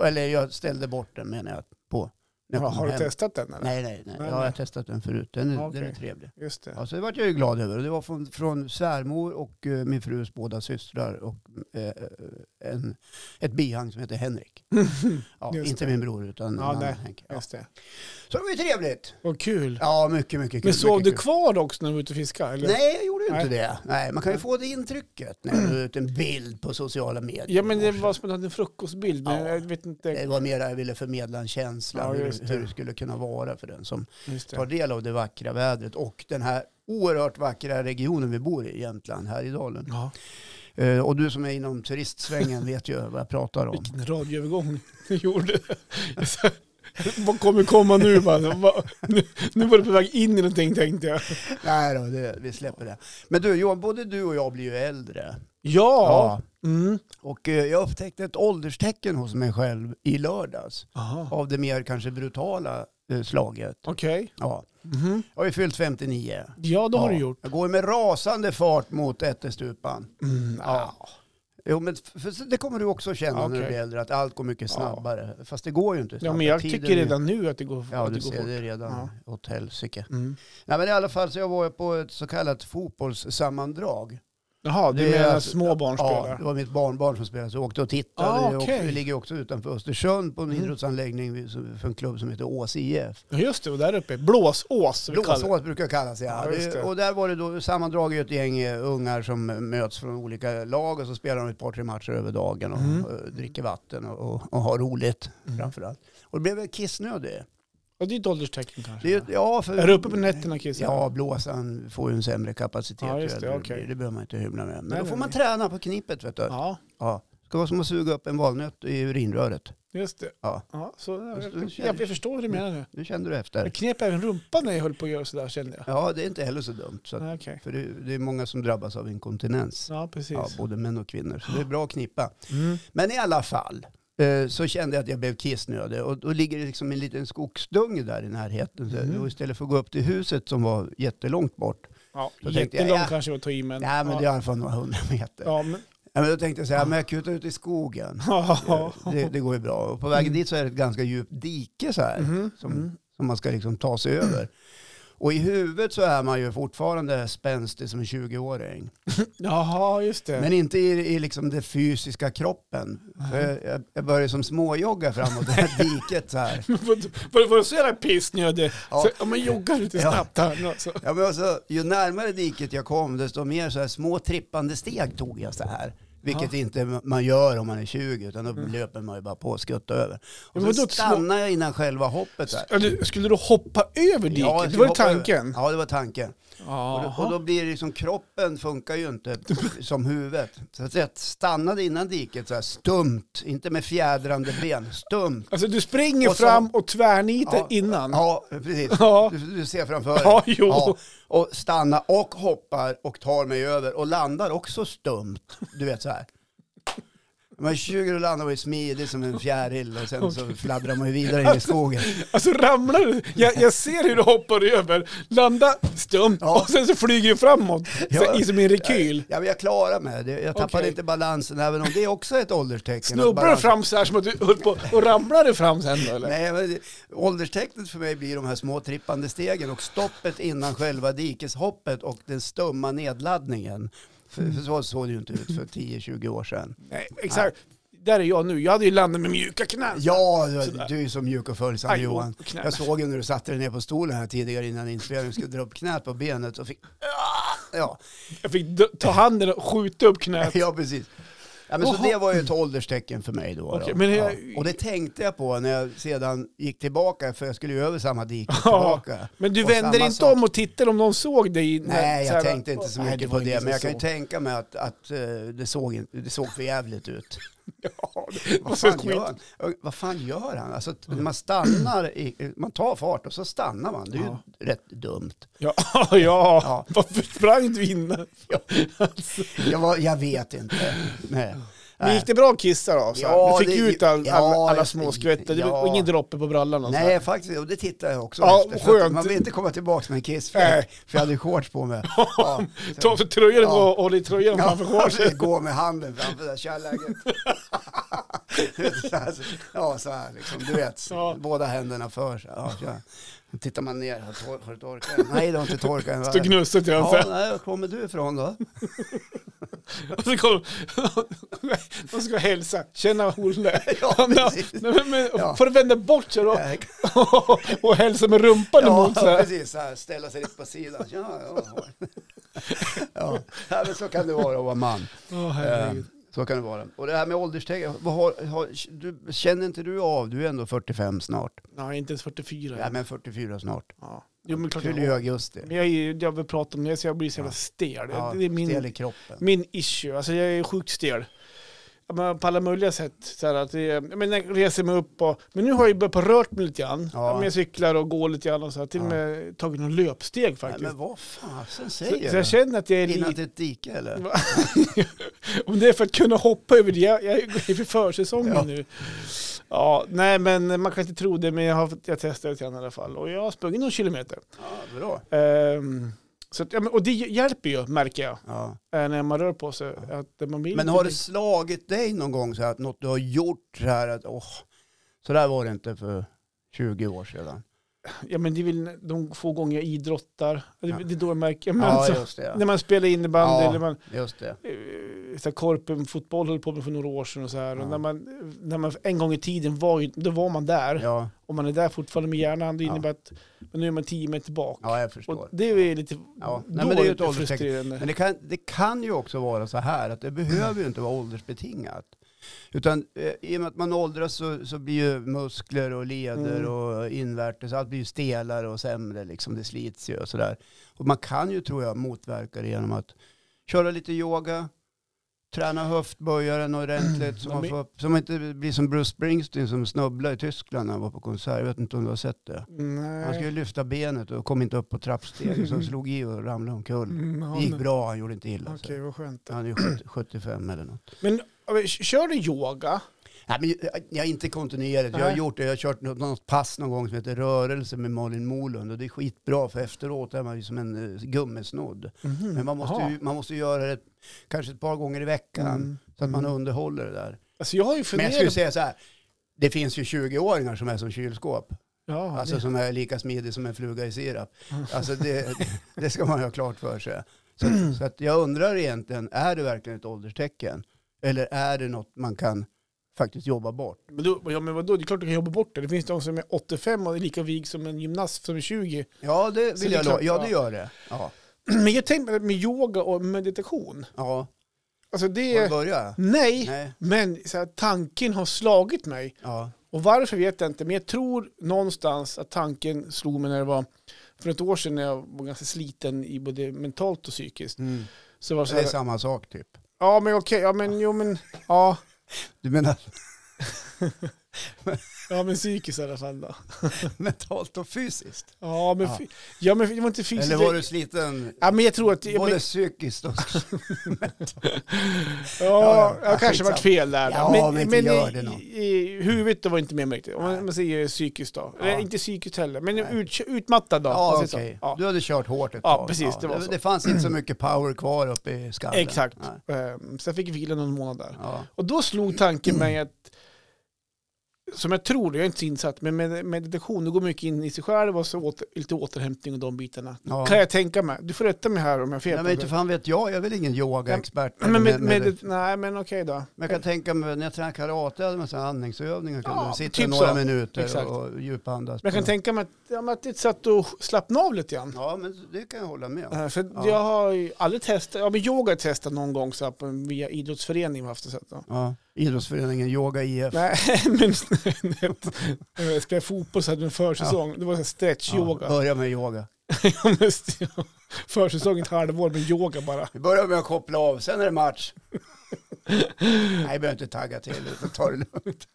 Speaker 1: Eller jag ställde bort den menar jag på. När jag kom
Speaker 2: *laughs* har du
Speaker 1: hem.
Speaker 2: testat den eller?
Speaker 1: Nej, nej, nej.
Speaker 2: Nej,
Speaker 1: Ja, jag har
Speaker 2: nej.
Speaker 1: testat den förut. Den är, den är
Speaker 2: Okej.
Speaker 1: trevlig.
Speaker 2: Just det.
Speaker 1: Ja, så det vart jag ju glad över. Och Det var från, från svärmor och eh, min frus båda systrar och eh, en, ett bihang som heter Henrik. Ja,
Speaker 2: Just
Speaker 1: inte
Speaker 2: det.
Speaker 1: min bror utan
Speaker 2: Ja,
Speaker 1: en annan
Speaker 2: nej.
Speaker 1: Henke. Ja.
Speaker 2: *laughs* Just det.
Speaker 1: Så det var ju trevligt.
Speaker 2: Vad kul.
Speaker 1: Ja, mycket, mycket kul.
Speaker 2: Men sov
Speaker 1: mycket
Speaker 2: du
Speaker 1: kul.
Speaker 2: kvar också när du var ute och fiskade? eller?
Speaker 1: Nej, jag gjorde ju inte
Speaker 2: Nej.
Speaker 1: det. Nej, man kan ju få det intrycket när du la ut en bild på sociala medier.
Speaker 2: Ja, men det
Speaker 1: i morse.
Speaker 2: var som att du hade en frukostbild. Men
Speaker 1: Ja.
Speaker 2: jag vet
Speaker 1: Det
Speaker 2: inte.
Speaker 1: var mera jag ville förmedla en känsla
Speaker 2: Ja, just
Speaker 1: hur,
Speaker 2: det.
Speaker 1: hur det skulle kunna vara för den som
Speaker 2: Just det.
Speaker 1: tar del av det vackra vädret och den här oerhört vackra regionen vi bor i, Jämtland, här i dalen.
Speaker 2: Ja.
Speaker 1: Eh, Och du som är inom
Speaker 2: *laughs*
Speaker 1: turistsvängen vet ju vad jag pratar om.
Speaker 2: Vilken radioövergång *laughs* du gjorde. Så, Vad kommer komma nu? va? Va- Nu, nu var du på väg in i någonting tänkte jag. Ja,
Speaker 1: Nej då, det, vi släpper det. Men du Johan, både du och jag blir ju äldre.
Speaker 2: Mm.
Speaker 1: Och eh, jag upptäckte ett ålderstecken hos mig själv i lördags.
Speaker 2: Aha.
Speaker 1: Av det mer kanske brutala eh, slaget.
Speaker 2: Okej.
Speaker 1: Ja.
Speaker 2: Mhm.
Speaker 1: Jag har ju fyllt 59.
Speaker 2: Ja, det har
Speaker 1: ja.
Speaker 2: du gjort.
Speaker 1: Jag går ju med rasande fart mot ättestupan.
Speaker 2: Mm.
Speaker 1: Ja. Jo, men f- för det kommer du också känna när du
Speaker 2: Okej.
Speaker 1: blir äldre, att allt går mycket snabbare. Fast det går ju inte
Speaker 2: Ja,
Speaker 1: snabbare.
Speaker 2: men jag
Speaker 1: Tiden
Speaker 2: tycker
Speaker 1: är-
Speaker 2: redan nu att det går,
Speaker 1: Ja,
Speaker 2: att
Speaker 1: du
Speaker 2: det går
Speaker 1: ser
Speaker 2: fort.
Speaker 1: det redan åt helsike.
Speaker 2: Mm.
Speaker 1: Nej, men i alla fall så jag var på ett så kallat fotbollssammandrag.
Speaker 2: Jaha, du
Speaker 1: Det är
Speaker 2: menar
Speaker 1: alltså-
Speaker 2: små barn
Speaker 1: Ja,
Speaker 2: spelar?
Speaker 1: det var mitt barnbarn som spelade så jag åkte och tittade.
Speaker 2: Ah,
Speaker 1: Det är också,
Speaker 2: okej.
Speaker 1: vi ligger också utanför Östersund på en
Speaker 2: Mm.
Speaker 1: idrottsanläggning vid- som- för en klubb som heter Ås IF.
Speaker 2: Ja, just det, och där uppe. Blåsås. som vi kallar det.
Speaker 1: Blåsås brukar det kallas ja.
Speaker 2: Ja, just
Speaker 1: det,
Speaker 2: det.
Speaker 1: och där var det då sammandraget ett gäng eh, ungar som eh, möts från olika lag och så spelar de ett par tre matcher över dagen och,
Speaker 2: Mm.
Speaker 1: eh, dricker vatten och, och, och har roligt framförallt. Och det blev väl kissnödig.
Speaker 2: Ja, det är ett ålderstecken kanske.
Speaker 1: Det är, ju- ja, för,
Speaker 2: Är du uppe på nätterna Christian?
Speaker 1: Ja, blåsan får ju en sämre kapacitet.
Speaker 2: Ja,
Speaker 1: ju
Speaker 2: just det,
Speaker 1: äldre du
Speaker 2: okej.
Speaker 1: blir. det behöver man inte hymla med. Men
Speaker 2: Nej,
Speaker 1: då
Speaker 2: nej,
Speaker 1: får man
Speaker 2: nej.
Speaker 1: träna på knipet vet du.
Speaker 2: Ja,
Speaker 1: Ja. Det ska vara som att suga upp en valnöt i urinröret.
Speaker 2: just det.
Speaker 1: Ja.
Speaker 2: Ja, så, jag,
Speaker 1: Just det,
Speaker 2: jag, jag, förstår hur du menar nu.
Speaker 1: Nu kände du
Speaker 2: Jag
Speaker 1: efter.
Speaker 2: knep även rumpan när jag höll på att göra sådär kände jag.
Speaker 1: Ja, det är inte heller så dumt. Så att,
Speaker 2: Ja, okej.
Speaker 1: för det, det är många som drabbas av inkontinens.
Speaker 2: Ja, precis.
Speaker 1: Ja, både män och kvinnor. Så det är bra att knippa.
Speaker 2: Mm.
Speaker 1: Men i alla fall eh, så kände jag att jag blev kissnödig. Och då ligger det liksom en liten skogsdunge där i närheten. Så,
Speaker 2: Mm.
Speaker 1: och istället för att gå upp till huset som var jättelångt bort.
Speaker 2: Ja,
Speaker 1: Då tänkte jag,
Speaker 2: jättelång
Speaker 1: ja.
Speaker 2: kanske att ta i, men...
Speaker 1: Nej, men det är i alla fall några hundra meter.
Speaker 2: ja, men, *laughs*
Speaker 1: Ja, men då tänkte jag så här, men jag kutar ut i skogen.
Speaker 2: ja.
Speaker 1: Eh, Det, det går ju bra. Och på vägen dit så är det ett ganska djupt dike så här.
Speaker 2: Mhm,
Speaker 1: Som,
Speaker 2: mm.
Speaker 1: som man ska liksom ta sig över. Och i huvudet så är man ju fortfarande spänstig som en 20-åring.
Speaker 2: Jaha, just det.
Speaker 1: Men inte i, i liksom den fysiska kroppen. För jag- jag, jag började som småjogga framåt det
Speaker 2: *laughs*
Speaker 1: här diket så här.
Speaker 2: *laughs* Var, var, var du så jävla pissnödig?
Speaker 1: Ja.
Speaker 2: Ja. Så, ja, men jogga lite
Speaker 1: Ja.
Speaker 2: snabbt här nu alltså.
Speaker 1: Ja, men alltså, ju närmare diket jag kom desto mer så här små trippande steg tog jag så här. Vilket inte man gör om man är 20 utan då löper man ju bara på och skuttar över. Och
Speaker 2: Mm. men
Speaker 1: så
Speaker 2: då ett små-
Speaker 1: stannar jag innan själva hoppet så här.
Speaker 2: Ja, du, skulle du hoppa över diket?
Speaker 1: Ja, jag
Speaker 2: det
Speaker 1: skulle
Speaker 2: var ju
Speaker 1: hoppa över.
Speaker 2: tanken.
Speaker 1: Ja, det var tanken. Och
Speaker 2: Jaha.
Speaker 1: då, och då blir det liksom, kroppen funkar ju inte *laughs* som huvudet. Så att jag stannade innan diket så här stumt, inte med fjädrande ben, stumt.
Speaker 2: Alltså du springer
Speaker 1: Och så-
Speaker 2: fram och tvärnitar
Speaker 1: Ja,
Speaker 2: innan.
Speaker 1: Ja, precis.
Speaker 2: Ja.
Speaker 1: Du, du ser framför dig.
Speaker 2: Ja, jo.
Speaker 1: Och stanna och hoppar och tar mig över och landar också stumt. Du vet så här. Men 20 och landar man ju smidigt som en fjäril och sen så fladdrar man ju vidare in i skogen.
Speaker 2: Alltså ramlar du? Jag, jag ser hur du hoppar över, landa stumt
Speaker 1: Ja.
Speaker 2: och sen så flyger du framåt.
Speaker 1: Ja.
Speaker 2: Så, i som en rekyl.
Speaker 1: Ja, men jag klarar mig. Det- Jag tappade
Speaker 2: Okej.
Speaker 1: inte balansen, även om det är också ett ålderstecken. att
Speaker 2: Snubblar du
Speaker 1: balans-
Speaker 2: fram så här som att du höll på och ramlar du fram sen då eller?
Speaker 1: Nej, men det- ålderstecknet för mig blir de här små trippande stegen och stoppet innan själva dikeshoppet och den stumma nedladdningen. För, för så såg det ju inte ut för 10-20 år sedan.
Speaker 2: Nej, exakt. Där är jag nu. Jag hade ju landat med mjuka knän.
Speaker 1: Ja, du, du är så mjuk och följsam
Speaker 2: Aj,
Speaker 1: Johan.
Speaker 2: och knä.
Speaker 1: Jag såg ju när du satte dig ner på stolen här tidigare innan inspelningen skulle dra upp knät på benet och fick... Ja,
Speaker 2: Jag fick dö- ta handen och skjuta upp knät.
Speaker 1: ja precis. Ja, men så
Speaker 2: Jaha.
Speaker 1: det var ju ett ålderstecken för mig då.
Speaker 2: Okej,
Speaker 1: då.
Speaker 2: men
Speaker 1: ja.
Speaker 2: jag-
Speaker 1: Och det tänkte jag på när jag sedan gick tillbaka, för jag skulle ju över samma dike
Speaker 2: Ja.
Speaker 1: *laughs* tillbaka.
Speaker 2: Men du
Speaker 1: Och
Speaker 2: vänder
Speaker 1: samma
Speaker 2: inte
Speaker 1: sak.
Speaker 2: om och tittar om någon såg dig? när-
Speaker 1: Nej,
Speaker 2: så
Speaker 1: jag
Speaker 2: här-
Speaker 1: tänkte inte så
Speaker 2: Nej,
Speaker 1: mycket
Speaker 2: det
Speaker 1: på
Speaker 2: var ingen
Speaker 1: det,
Speaker 2: som
Speaker 1: men jag kan ju
Speaker 2: såg.
Speaker 1: tänka mig att, att eh, det, såg, in- det såg för jävligt
Speaker 2: *laughs*
Speaker 1: ut.
Speaker 2: Ja, det var
Speaker 1: Vad
Speaker 2: så
Speaker 1: fan
Speaker 2: skit. Mm.
Speaker 1: gör han? Eh, Vad fan gör han? Alltså, att man stannar, i, eh, man tar fart och så stannar man. Det är ju
Speaker 2: Ja.
Speaker 1: rätt dumt.
Speaker 2: Ja, *laughs* ja. varför sprang du innan? Alltså.
Speaker 1: Jag, var, jag vet inte. Nej.
Speaker 2: Men gick det bra att kissa då? Så här?
Speaker 1: Ja,
Speaker 2: du fick
Speaker 1: det-
Speaker 2: ju ut all,
Speaker 1: ja,
Speaker 2: all, alla
Speaker 1: jag-
Speaker 2: små skvätter, det
Speaker 1: ja.
Speaker 2: var ingen droppe på brallan? och så här.
Speaker 1: Nej, faktiskt. Och det tittar jag också
Speaker 2: Ja,
Speaker 1: efter. för att
Speaker 2: skönt.
Speaker 1: Man vill inte komma tillbaka med en kissfläck.
Speaker 2: Nej.
Speaker 1: För jag hade shorts på
Speaker 2: *laughs*
Speaker 1: mig. Ja, så-
Speaker 2: Ta för tröjan
Speaker 1: Ja.
Speaker 2: och håll i tröjan framför
Speaker 1: *laughs*
Speaker 2: shortsen.
Speaker 1: Gå med handen framför där, kör läget. Du vet, så här, så- *laughs* ja, så här liksom. Du vet,
Speaker 2: Ja.
Speaker 1: båda händerna för sig. Ja, kör. Då Tittar man ner, har tor- har du torkat den? Nej, det har inte torkat den.
Speaker 2: Står gnusset i
Speaker 1: Ja,
Speaker 2: ansiktet.
Speaker 1: nej, var kommer du ifrån då?
Speaker 2: Och så kom *laughs* de ska hälsa, känna Olle.
Speaker 1: *laughs* Ja,
Speaker 2: Han-
Speaker 1: precis.
Speaker 2: Nej, men, men,
Speaker 1: Ja.
Speaker 2: Får du vända bort sig då *laughs* och hälsa med rumpan
Speaker 1: Ja,
Speaker 2: emot så här.
Speaker 1: precis. Så här, ställa sig lite på sidan. Ja, ja.
Speaker 2: *laughs*
Speaker 1: ja. ja men så kan det vara att vara man.
Speaker 2: Åh, herregud.
Speaker 1: Eh, Så kan det vara. Och det här med ålderstecken, vad har, har, du, känner inte du av, du är ändå 45 snart.
Speaker 2: Nej, inte ens 44.
Speaker 1: Ja, men 44 snart.
Speaker 2: Ja. Jo, men klart jag
Speaker 1: Fyller i
Speaker 2: har.
Speaker 1: augusti.
Speaker 2: Men jag, är ju- jag vill prata om det, så jag blir så jävla stel.
Speaker 1: Ja,
Speaker 2: det är min,
Speaker 1: Stel i kroppen.
Speaker 2: min issue. Alltså jag är sjukt stel. Ja, men På alla möjliga sätt. Så här att det, är- jag, menar, jag reser mig upp och... Men nu har jag ju börjat på rört mig lite grann.
Speaker 1: Ja.
Speaker 2: Ja. men Jag cyklar och går lite grann och så. här. Till och med tagit några löpsteg
Speaker 1: Nej,
Speaker 2: faktiskt.
Speaker 1: men vad fasen
Speaker 2: så,
Speaker 1: säger
Speaker 2: så jag
Speaker 1: du?
Speaker 2: känner att jag är
Speaker 1: Innan
Speaker 2: lite...
Speaker 1: till ett dike eller?
Speaker 2: Va? Om det är för att kunna hoppa över det. Jag, jag är för försäsongen
Speaker 1: Ja.
Speaker 2: nu. Ja, nej men man kan inte tro det men jag, har, jag testar lite grann i alla fall. Och jag har sprungit någon kilometer.
Speaker 1: Ja, bra.
Speaker 2: Ehm, så att, ja, men, och det hjälper ju märker jag.
Speaker 1: Ja.
Speaker 2: eh, När man rör på sig. Att man blir
Speaker 1: Men
Speaker 2: lite-
Speaker 1: har det slagit dig någon gång så här att något du har gjort så här att åh, så där var det inte för 20 år sedan?
Speaker 2: ja, men det är väl de få gånger jag idrottar. Det,
Speaker 1: Ja.
Speaker 2: det är då jag märker. Men
Speaker 1: Ja,
Speaker 2: så,
Speaker 1: just det.
Speaker 2: När man spelar innebandy
Speaker 1: Ja.
Speaker 2: eller man,
Speaker 1: Just det.
Speaker 2: eh, så här, korpen, fotboll höll på med för några år sedan och så här.
Speaker 1: Ja.
Speaker 2: Och när man, när man en gång i tiden var, ju- då var man där.
Speaker 1: Ja,
Speaker 2: Om man är där fortfarande med hjärnan, det
Speaker 1: Ja.
Speaker 2: innebär att men nu är man tio meter bak.
Speaker 1: ja jag
Speaker 2: och
Speaker 1: förstår.
Speaker 2: det är ju lite
Speaker 1: Ja.
Speaker 2: då
Speaker 1: Nej, men det är ju
Speaker 2: lite
Speaker 1: ett ålderstecken.
Speaker 2: frustrerande.
Speaker 1: Men det kan, det kan ju också vara så här att det behöver ju inte vara åldersbetingat. Utan eh, i och med att man åldras så, så blir ju muskler och leder
Speaker 2: Mm.
Speaker 1: och invärtes, allt blir ju stelare och sämre liksom. Det slits ju och sådär. Och man kan ju tror jag motverka det genom att köra lite yoga, träna höftböjaren ordentligt så,
Speaker 2: De
Speaker 1: man
Speaker 2: är-
Speaker 1: får, så man inte blir som Bruce Springsteen som snubblade i Tyskland när han var på konsert. Jag vet inte om du har sett det. Han skulle
Speaker 2: Nej.
Speaker 1: lyfta benet och kom inte upp på trappstegen så han slog i och ramlade omkull.
Speaker 2: Mm, ja,
Speaker 1: Det gick
Speaker 2: men-
Speaker 1: bra, han gjorde inte illa
Speaker 2: Okej,
Speaker 1: sig.
Speaker 2: vad skönt.
Speaker 1: Han är ju 70 75 eller något.
Speaker 2: Men ja, men kör du yoga?
Speaker 1: Nej, men jag- jag är inte kontinuerligt. Jag har
Speaker 2: Nej.
Speaker 1: gjort det. Jag har kört något, något pass någon gång som heter rörelse med Malin Molund och det är skitbra för efteråt är man ju som en eh, gummisnodd. Men man måste,
Speaker 2: Mm. Jaha.
Speaker 1: ju, man måste ju göra det kanske ett par gånger i veckan
Speaker 2: Mm.
Speaker 1: så att man
Speaker 2: Mm.
Speaker 1: underhåller det där.
Speaker 2: Alltså jag har ju
Speaker 1: Men jag
Speaker 2: funderat...
Speaker 1: skulle säga så här. Det finns ju 20-åringar som är som kylskåp.
Speaker 2: ja,
Speaker 1: Alltså
Speaker 2: det-
Speaker 1: som är lika smidig som en fluga i sirap. Alltså det, det ska man ha klart för sig.
Speaker 2: *clears throat*
Speaker 1: Så, så att jag undrar egentligen, är det verkligen ett ålderstecken? Eller är det något man kan faktiskt jobba bort?
Speaker 2: men, då, ja, men vadå, det är klart du kan jobba bort det. Det finns de som är 85 och är lika vig som en gymnast som är 20.
Speaker 1: Ja, det
Speaker 2: Så
Speaker 1: vill
Speaker 2: det är
Speaker 1: jag lova.
Speaker 2: klart,
Speaker 1: Ja,
Speaker 2: ja.
Speaker 1: det gör det. Ja.
Speaker 2: *clears throat* Men jag tänkte med yoga och meditation.
Speaker 1: ja.
Speaker 2: Alltså
Speaker 1: Var
Speaker 2: det...
Speaker 1: börjar jag?
Speaker 2: Nej,
Speaker 1: Nej.
Speaker 2: men så här, tanken har slagit mig.
Speaker 1: Ja.
Speaker 2: Och varför vet jag inte, men jag tror någonstans att tanken slog mig när det var... För ett år sedan när jag var ganska sliten i både mentalt och psykiskt.
Speaker 1: Mm.
Speaker 2: Så var det så
Speaker 1: Det är
Speaker 2: här,
Speaker 1: samma sak typ.
Speaker 2: ja men okej, ja men jo men... Ja,
Speaker 1: Du menar *laughs*
Speaker 2: ja men psykiskt i alla fall då.
Speaker 1: mentalt och fysiskt?
Speaker 2: Ja, men,
Speaker 1: Ja.
Speaker 2: fy- ja, men det var inte fysiskt.
Speaker 1: Eller var du sliten
Speaker 2: Ja, men jag tror att... Jag,
Speaker 1: både
Speaker 2: men,
Speaker 1: psykiskt och...
Speaker 2: ja,
Speaker 1: ja,
Speaker 2: jag kanske
Speaker 1: skitsamma.
Speaker 2: varit fel där. då.
Speaker 1: Ja, men inte gör det något.
Speaker 2: i, i huvudet då var inte med mig riktigt. Om
Speaker 1: Nej.
Speaker 2: man, man säger psykiskt då.
Speaker 1: Ja.
Speaker 2: Eller, inte psykiskt heller, men
Speaker 1: Nej.
Speaker 2: ut, utmattad då. om
Speaker 1: Ja,
Speaker 2: man säger
Speaker 1: okej.
Speaker 2: så. *laughs* Ja.
Speaker 1: Du hade kört hårt ett
Speaker 2: Ja,
Speaker 1: tag.
Speaker 2: precis, det var
Speaker 1: det,
Speaker 2: så.
Speaker 1: det fanns inte så mycket power kvar uppe i skallen.
Speaker 2: Exakt.
Speaker 1: Nej.
Speaker 2: Ehm, så jag fick vila någon månad där.
Speaker 1: Ja.
Speaker 2: Och då slog tanken mig att, som jag tror, jag är inte så insatt, men med meditation, du går mycket in i sig själv och så åter, lite återhämtning och de bitarna.
Speaker 1: Ja.
Speaker 2: Kan jag tänka mig. Du får rätta mig här om jag har fel.
Speaker 1: Nej,
Speaker 2: på
Speaker 1: men
Speaker 2: det.
Speaker 1: inte fan vet jag, jag är väl ingen yogaexpert.
Speaker 2: men med, med,
Speaker 1: men
Speaker 2: nej, men okej då.
Speaker 1: jag kan tänka mig när jag tränar karate, jag hade en massa andningsövningar.
Speaker 2: Ja,
Speaker 1: Ja, du sitter
Speaker 2: typ
Speaker 1: några
Speaker 2: så.
Speaker 1: minuter
Speaker 2: Exakt.
Speaker 1: och djupandas.
Speaker 2: Men jag kan
Speaker 1: på-
Speaker 2: tänka mig att, ja, men att det är ett sätt att slappna av lite grann.
Speaker 1: Ja, men det kan jag hålla med om.
Speaker 2: Eh, För
Speaker 1: Ja.
Speaker 2: jag har ju aldrig testat, ja men yoga har jag testat någon gång så här, på- via idrottsförening. Haft det, så att,
Speaker 1: Ja. Idrottsföreningen Yoga IF.
Speaker 2: Nej, *laughs* men när jag spelade fotboll så hade vi en försäsong. Det var så här stretch-yoga.
Speaker 1: Ja, börja med yoga.
Speaker 2: *laughs* Ja, men st- Försäsong i ett halvår med yoga bara.
Speaker 1: Vi börjar med att koppla av, sen är det
Speaker 2: *laughs*
Speaker 1: match. Nej, jag behöver inte tagga till, utan ta det lugnt.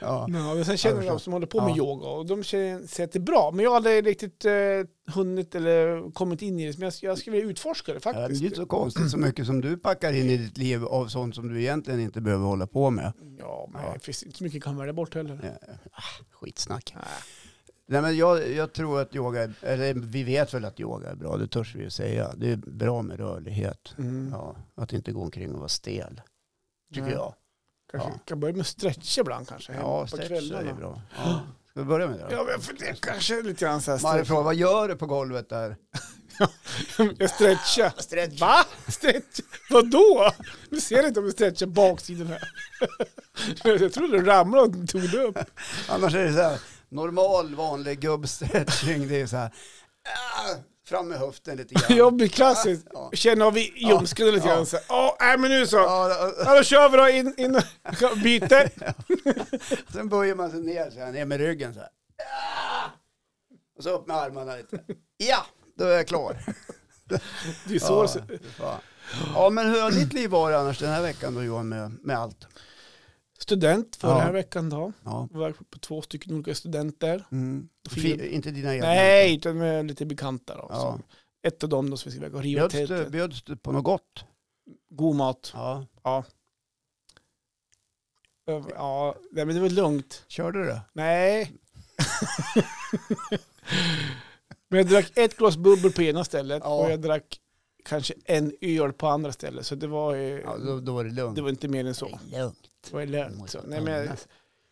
Speaker 1: Ja.
Speaker 2: Ja, men sen
Speaker 1: Ja,
Speaker 2: känner
Speaker 1: jag
Speaker 2: jag de som håller på med
Speaker 1: Ja.
Speaker 2: yoga och de känner, säger att det är bra. Men jag har aldrig riktigt eh, hunnit eller kommit in i det. Men jag, jag skulle vilja utforska det
Speaker 1: Ja, Det är
Speaker 2: faktiskt.
Speaker 1: ju inte så konstigt så mycket som du packar in i ditt liv av sånt som du egentligen inte behöver hålla på med.
Speaker 2: Ja, men
Speaker 1: Ja.
Speaker 2: det finns inte så mycket jag kan välja bort heller.
Speaker 1: Eh, ah, Skitsnack.
Speaker 2: Nej.
Speaker 1: Nej, men jag, jag tror att yoga, är- eller vi vet väl att yoga är bra, det törs vi ju säga. Det är bra med rörlighet.
Speaker 2: Mm.
Speaker 1: Ja, att inte gå omkring och vara stel, tycker
Speaker 2: Nej.
Speaker 1: jag.
Speaker 2: Kanske
Speaker 1: Ja.
Speaker 2: kan börja med att stretcha ibland kanske. hemma
Speaker 1: Ja,
Speaker 2: på
Speaker 1: stretch
Speaker 2: kvällarna.
Speaker 1: är bra. Ja. Ska vi börja med det
Speaker 2: Ja,
Speaker 1: då?
Speaker 2: men för det kanske är lite grann så här.
Speaker 1: Mario
Speaker 2: Stretch.
Speaker 1: frågar, vad gör du på golvet där?
Speaker 2: Jag stretchar.
Speaker 1: Stretch.
Speaker 2: Va? Stretch? Vadå? Du ser inte om du stretchar baksidan här. *laughs* Jag trodde du ramlade och tog det upp.
Speaker 1: Annars är det så här, normal vanlig gubbstretching, det är så här, ah, fram med höften lite grann.
Speaker 2: Jag blir klassiskt.
Speaker 1: Ja.
Speaker 2: Känner av i ljumsken lite grann. så här. Ja, nej men nu så. Ja,
Speaker 1: Ja, och-
Speaker 2: då kör vi då. In, in. *laughs* Byte.
Speaker 1: Sen böjer man sig ner så här, ner med ryggen så här. Ah! Och så upp med armarna lite. Ja, då är jag klar.
Speaker 2: Det är så.
Speaker 1: Ja,
Speaker 2: så-
Speaker 1: fy fan. ja men hur har ditt liv varit annars den här veckan då Johan med, med allt?
Speaker 2: Student för
Speaker 1: Ja.
Speaker 2: den här veckan då.
Speaker 1: Ja.
Speaker 2: Var på två stycken olika studenter.
Speaker 1: Mm.
Speaker 2: Fin-
Speaker 1: Fi, inte dina egna?
Speaker 2: Nej, utan med lite bekanta då.
Speaker 1: Ja.
Speaker 2: Så Ett av dem då som vi ska iväg och riva
Speaker 1: Bjöds du,
Speaker 2: tältet.
Speaker 1: bjöds du på något gott?
Speaker 2: God mat.
Speaker 1: Ja.
Speaker 2: Ja, nej, men det var lugnt.
Speaker 1: Körde du det?
Speaker 2: Nej. men jag drack ett glas bubbel på ena stället
Speaker 1: Ja.
Speaker 2: och jag drack kanske en öl på andra stället. Så det var, ju-
Speaker 1: Ja, då, då var det lugnt.
Speaker 2: det var inte mer än så.
Speaker 1: lugnt.
Speaker 2: Det var ju lönt. Så, Nej, men, jag-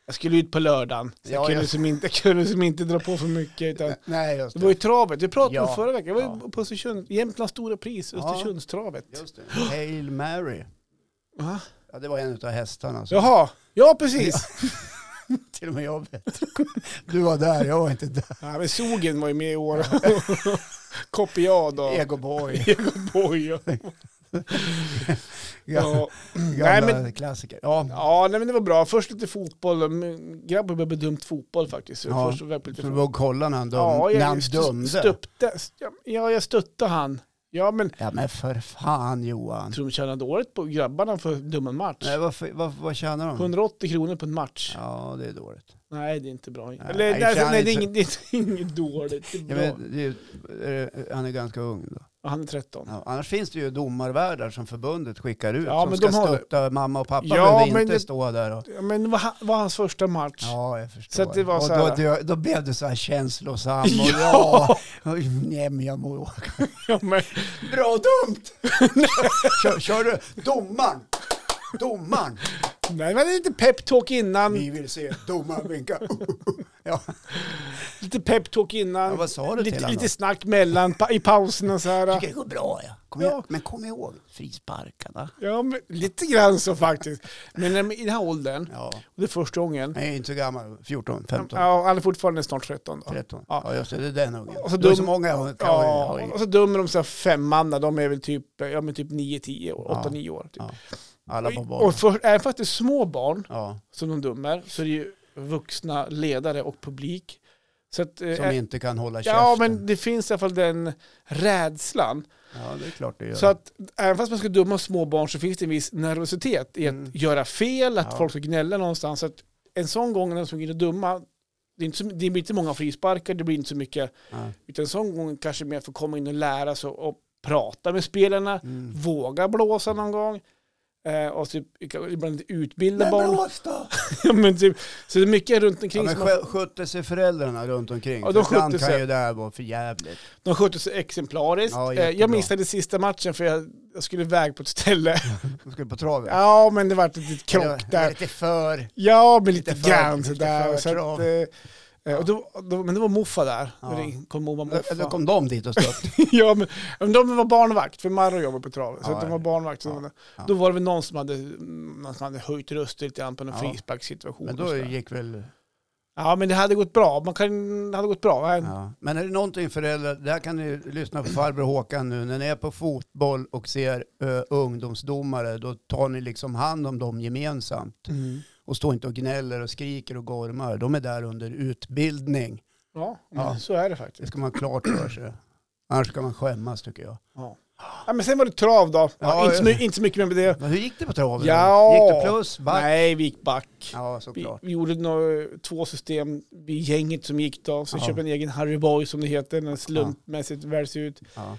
Speaker 2: Jag skulle ut på lördagen. Så jag,
Speaker 1: Ja,
Speaker 2: kunde
Speaker 1: jag-
Speaker 2: Som inte, jag kunde som inte dra på för
Speaker 1: *laughs*
Speaker 2: mycket. Utan
Speaker 1: Nej, just
Speaker 2: det var ju
Speaker 1: det.
Speaker 2: travet. Vi pratade om
Speaker 1: Ja.
Speaker 2: förra veckan. Jag var ju
Speaker 1: Ja.
Speaker 2: på Östersund. Jämtlands stora pris,
Speaker 1: Ja.
Speaker 2: Östersundstravet.
Speaker 1: Just det. Hail Mary.
Speaker 2: Va?
Speaker 1: Ja, det var en av hästarna. Så.
Speaker 2: Jaha, ja precis.
Speaker 1: *laughs* Till och med jag vet. *laughs* Du var där, jag var inte *laughs* där.
Speaker 2: Ja. men Sogen var ju med
Speaker 1: *laughs*
Speaker 2: i år. Kopiad och
Speaker 1: Egoboy,
Speaker 2: Egoboy. och-
Speaker 1: gamla,
Speaker 2: Ja. Nej, men
Speaker 1: klassiker. Ja,
Speaker 2: Ja, nej, men det var bra. Först lite fotboll. Men Grabben började dumt fotboll faktiskt. Så
Speaker 1: Ja.
Speaker 2: Först var jag på lite
Speaker 1: så du
Speaker 2: fotboll.
Speaker 1: var och kollade när han, döm,
Speaker 2: ja, jag
Speaker 1: när han
Speaker 2: st-
Speaker 1: dömde?
Speaker 2: stöpte- st- ja, ja, jag stötte han. Ja, men
Speaker 1: Ja, men för fan Johan.
Speaker 2: jag tror de tjänade året på grabbarna för att döma en match.
Speaker 1: Nej, vad, vad, vad tjänar de?
Speaker 2: 180 kronor på en match.
Speaker 1: Ja, det är dåligt.
Speaker 2: Nej, det är inte bra. Eller,
Speaker 1: nej,
Speaker 2: nej,
Speaker 1: det
Speaker 2: alltså,
Speaker 1: är
Speaker 2: nej, det, är
Speaker 1: inte-
Speaker 2: inget, det är inget dåligt. Det är
Speaker 1: Ja,
Speaker 2: bra.
Speaker 1: men, det är, ju- är det- han är ganska ung då.
Speaker 2: Och Han är 13.
Speaker 1: Ja, annars finns det ju domarvärdar som förbundet skickar ut
Speaker 2: Ja,
Speaker 1: som
Speaker 2: men
Speaker 1: ska
Speaker 2: de har-
Speaker 1: stötta mamma och pappa
Speaker 2: Ja,
Speaker 1: behöver
Speaker 2: men
Speaker 1: inte
Speaker 2: det-
Speaker 1: stå där. Och...
Speaker 2: Ja, men det var, han- var hans första match.
Speaker 1: Ja, jag förstår.
Speaker 2: Så att det var
Speaker 1: och
Speaker 2: så här-
Speaker 1: då, då, då blev du så här känslosam. Och,
Speaker 2: Ja!
Speaker 1: ja! Oj, Nej, men jag mår
Speaker 2: *laughs* Ja, men,
Speaker 1: Bra dumt! *laughs* kör, kör du domaren? Domaren?
Speaker 2: nej, men lite peptalk innan.
Speaker 1: Vi vill se domaren vinka. ja.
Speaker 2: Lite peptalk innan.
Speaker 1: Ja, vad sa du till
Speaker 2: lite,
Speaker 1: honom?
Speaker 2: lite snack mellan pa- i pauserna
Speaker 1: *laughs*
Speaker 2: så här.
Speaker 1: tycker det går bra ja. Kom
Speaker 2: Ja.
Speaker 1: ihåg, men kom ihåg, frisparkarna.
Speaker 2: Ja, men lite grann så faktiskt. Men när- i den här åldern,
Speaker 1: Ja.
Speaker 2: och det är första gången.
Speaker 1: Nej, inte så gammal. 14, 15,
Speaker 2: Ja, han är fortfarande snart 13 då.
Speaker 1: 13.
Speaker 2: Ja.
Speaker 1: Ja. just det, det är den ungen.
Speaker 2: Och så
Speaker 1: det är så
Speaker 2: dum-
Speaker 1: många ungar.
Speaker 2: Ja,
Speaker 1: Oj, oj,
Speaker 2: och så dömer de så här femman när de är väl typ, ja, men typ 9-10 år,
Speaker 1: Ja.
Speaker 2: 8-9 år. Typ.
Speaker 1: Ja, Alla på
Speaker 2: Och-
Speaker 1: bollen.
Speaker 2: Och för, även fast det är små barn
Speaker 1: Ja,
Speaker 2: som de dömer så är det ju vuxna ledare och publik. Så att, eh,
Speaker 1: som inte kan hålla käften.
Speaker 2: ja, men det finns i alla fall den rädslan.
Speaker 1: ja det är klart det gör.
Speaker 2: Så att även fast man ska döma små barn så finns det en viss nervositet i att
Speaker 1: Mm.
Speaker 2: göra fel, att
Speaker 1: Ja.
Speaker 2: folk ska gnälla någonstans. Så att en sån gång när de ska gå in och döma, det, är inte så, det blir inte många frisparkar, det blir inte så mycket.
Speaker 1: Ja.
Speaker 2: Utan en sån gång kanske mer att få komma in och lära sig och, och prata med spelarna,
Speaker 1: Mm.
Speaker 2: våga blåsa någon gång. Eh, och typ, ibland utbilda
Speaker 1: Men
Speaker 2: barn.
Speaker 1: blås då!
Speaker 2: *laughs* Ja, men typ, så det är mycket runt
Speaker 1: Ja,
Speaker 2: omkring.
Speaker 1: men
Speaker 2: som man,
Speaker 1: skö- skötte sig föräldrarna runt omkring?
Speaker 2: Ja, de
Speaker 1: För ibland
Speaker 2: skötte
Speaker 1: kan
Speaker 2: sig.
Speaker 1: ju det här vara för jävligt.
Speaker 2: de skötte sig exemplariskt.
Speaker 1: Ja,
Speaker 2: eh, jag
Speaker 1: jättebra.
Speaker 2: missade sista matchen för jag, jag skulle iväg på ett ställe.
Speaker 1: De skulle på traven.
Speaker 2: ja, men det var ett litet
Speaker 1: Det var-
Speaker 2: krock
Speaker 1: det var
Speaker 2: där.
Speaker 1: Lite för...
Speaker 2: Ja, men lite,
Speaker 1: Lite för-
Speaker 2: grann
Speaker 1: lite
Speaker 2: sådär.
Speaker 1: för
Speaker 2: Så att,
Speaker 1: trav.
Speaker 2: eh, eh, och då, då, men det var moffa där.
Speaker 1: Ja.
Speaker 2: Då ring- kom mormor moffa.
Speaker 1: Då, då kom de dit och stötte.
Speaker 2: *laughs* ja, men, men de var barnvakt, för Marro jobbar på travet. så
Speaker 1: Ja,
Speaker 2: att de
Speaker 1: ja.
Speaker 2: var barnvakt. Så
Speaker 1: Ja,
Speaker 2: de-
Speaker 1: ja.
Speaker 2: Då var det väl någon som hade, någon som hade höjt rösten lite grann på en
Speaker 1: Ja.
Speaker 2: frisparkssituation.
Speaker 1: Men
Speaker 2: och
Speaker 1: då
Speaker 2: sådär.
Speaker 1: gick väl...
Speaker 2: Ja, men det hade gått bra. Man kan, det hade gått bra. Nej,
Speaker 1: Ja. Men är det någonting föräldrar, där kan ni lyssna på farbror Håkan nu, när ni är på fotboll och ser eh, ungdomsdomare, då tar ni liksom hand om dem gemensamt.
Speaker 2: Mm.
Speaker 1: Och står inte och gnäller och skriker och gormar. De är där under utbildning.
Speaker 2: Ja, men
Speaker 1: Ja.
Speaker 2: så är det
Speaker 1: Det
Speaker 2: faktiskt.
Speaker 1: ska man ha klart för sig. Annars ska man skämmas tycker jag.
Speaker 2: Ja. Ja, men sen var det trav då. Ja,
Speaker 1: Ja,
Speaker 2: inte, så mycket, inte så mycket mer med det.
Speaker 1: Men hur gick det på traven?
Speaker 2: Ja.
Speaker 1: Gick det plus? Back?
Speaker 2: Nej, vi gick back.
Speaker 1: Ja,
Speaker 2: Vi,
Speaker 1: såklart.
Speaker 2: vi gjorde några, två system, vi gänget som gick då, sen
Speaker 1: Ja.
Speaker 2: köpte en egen Harry Boy som det heter, den slumpmässigt väljs ut.
Speaker 1: Ja.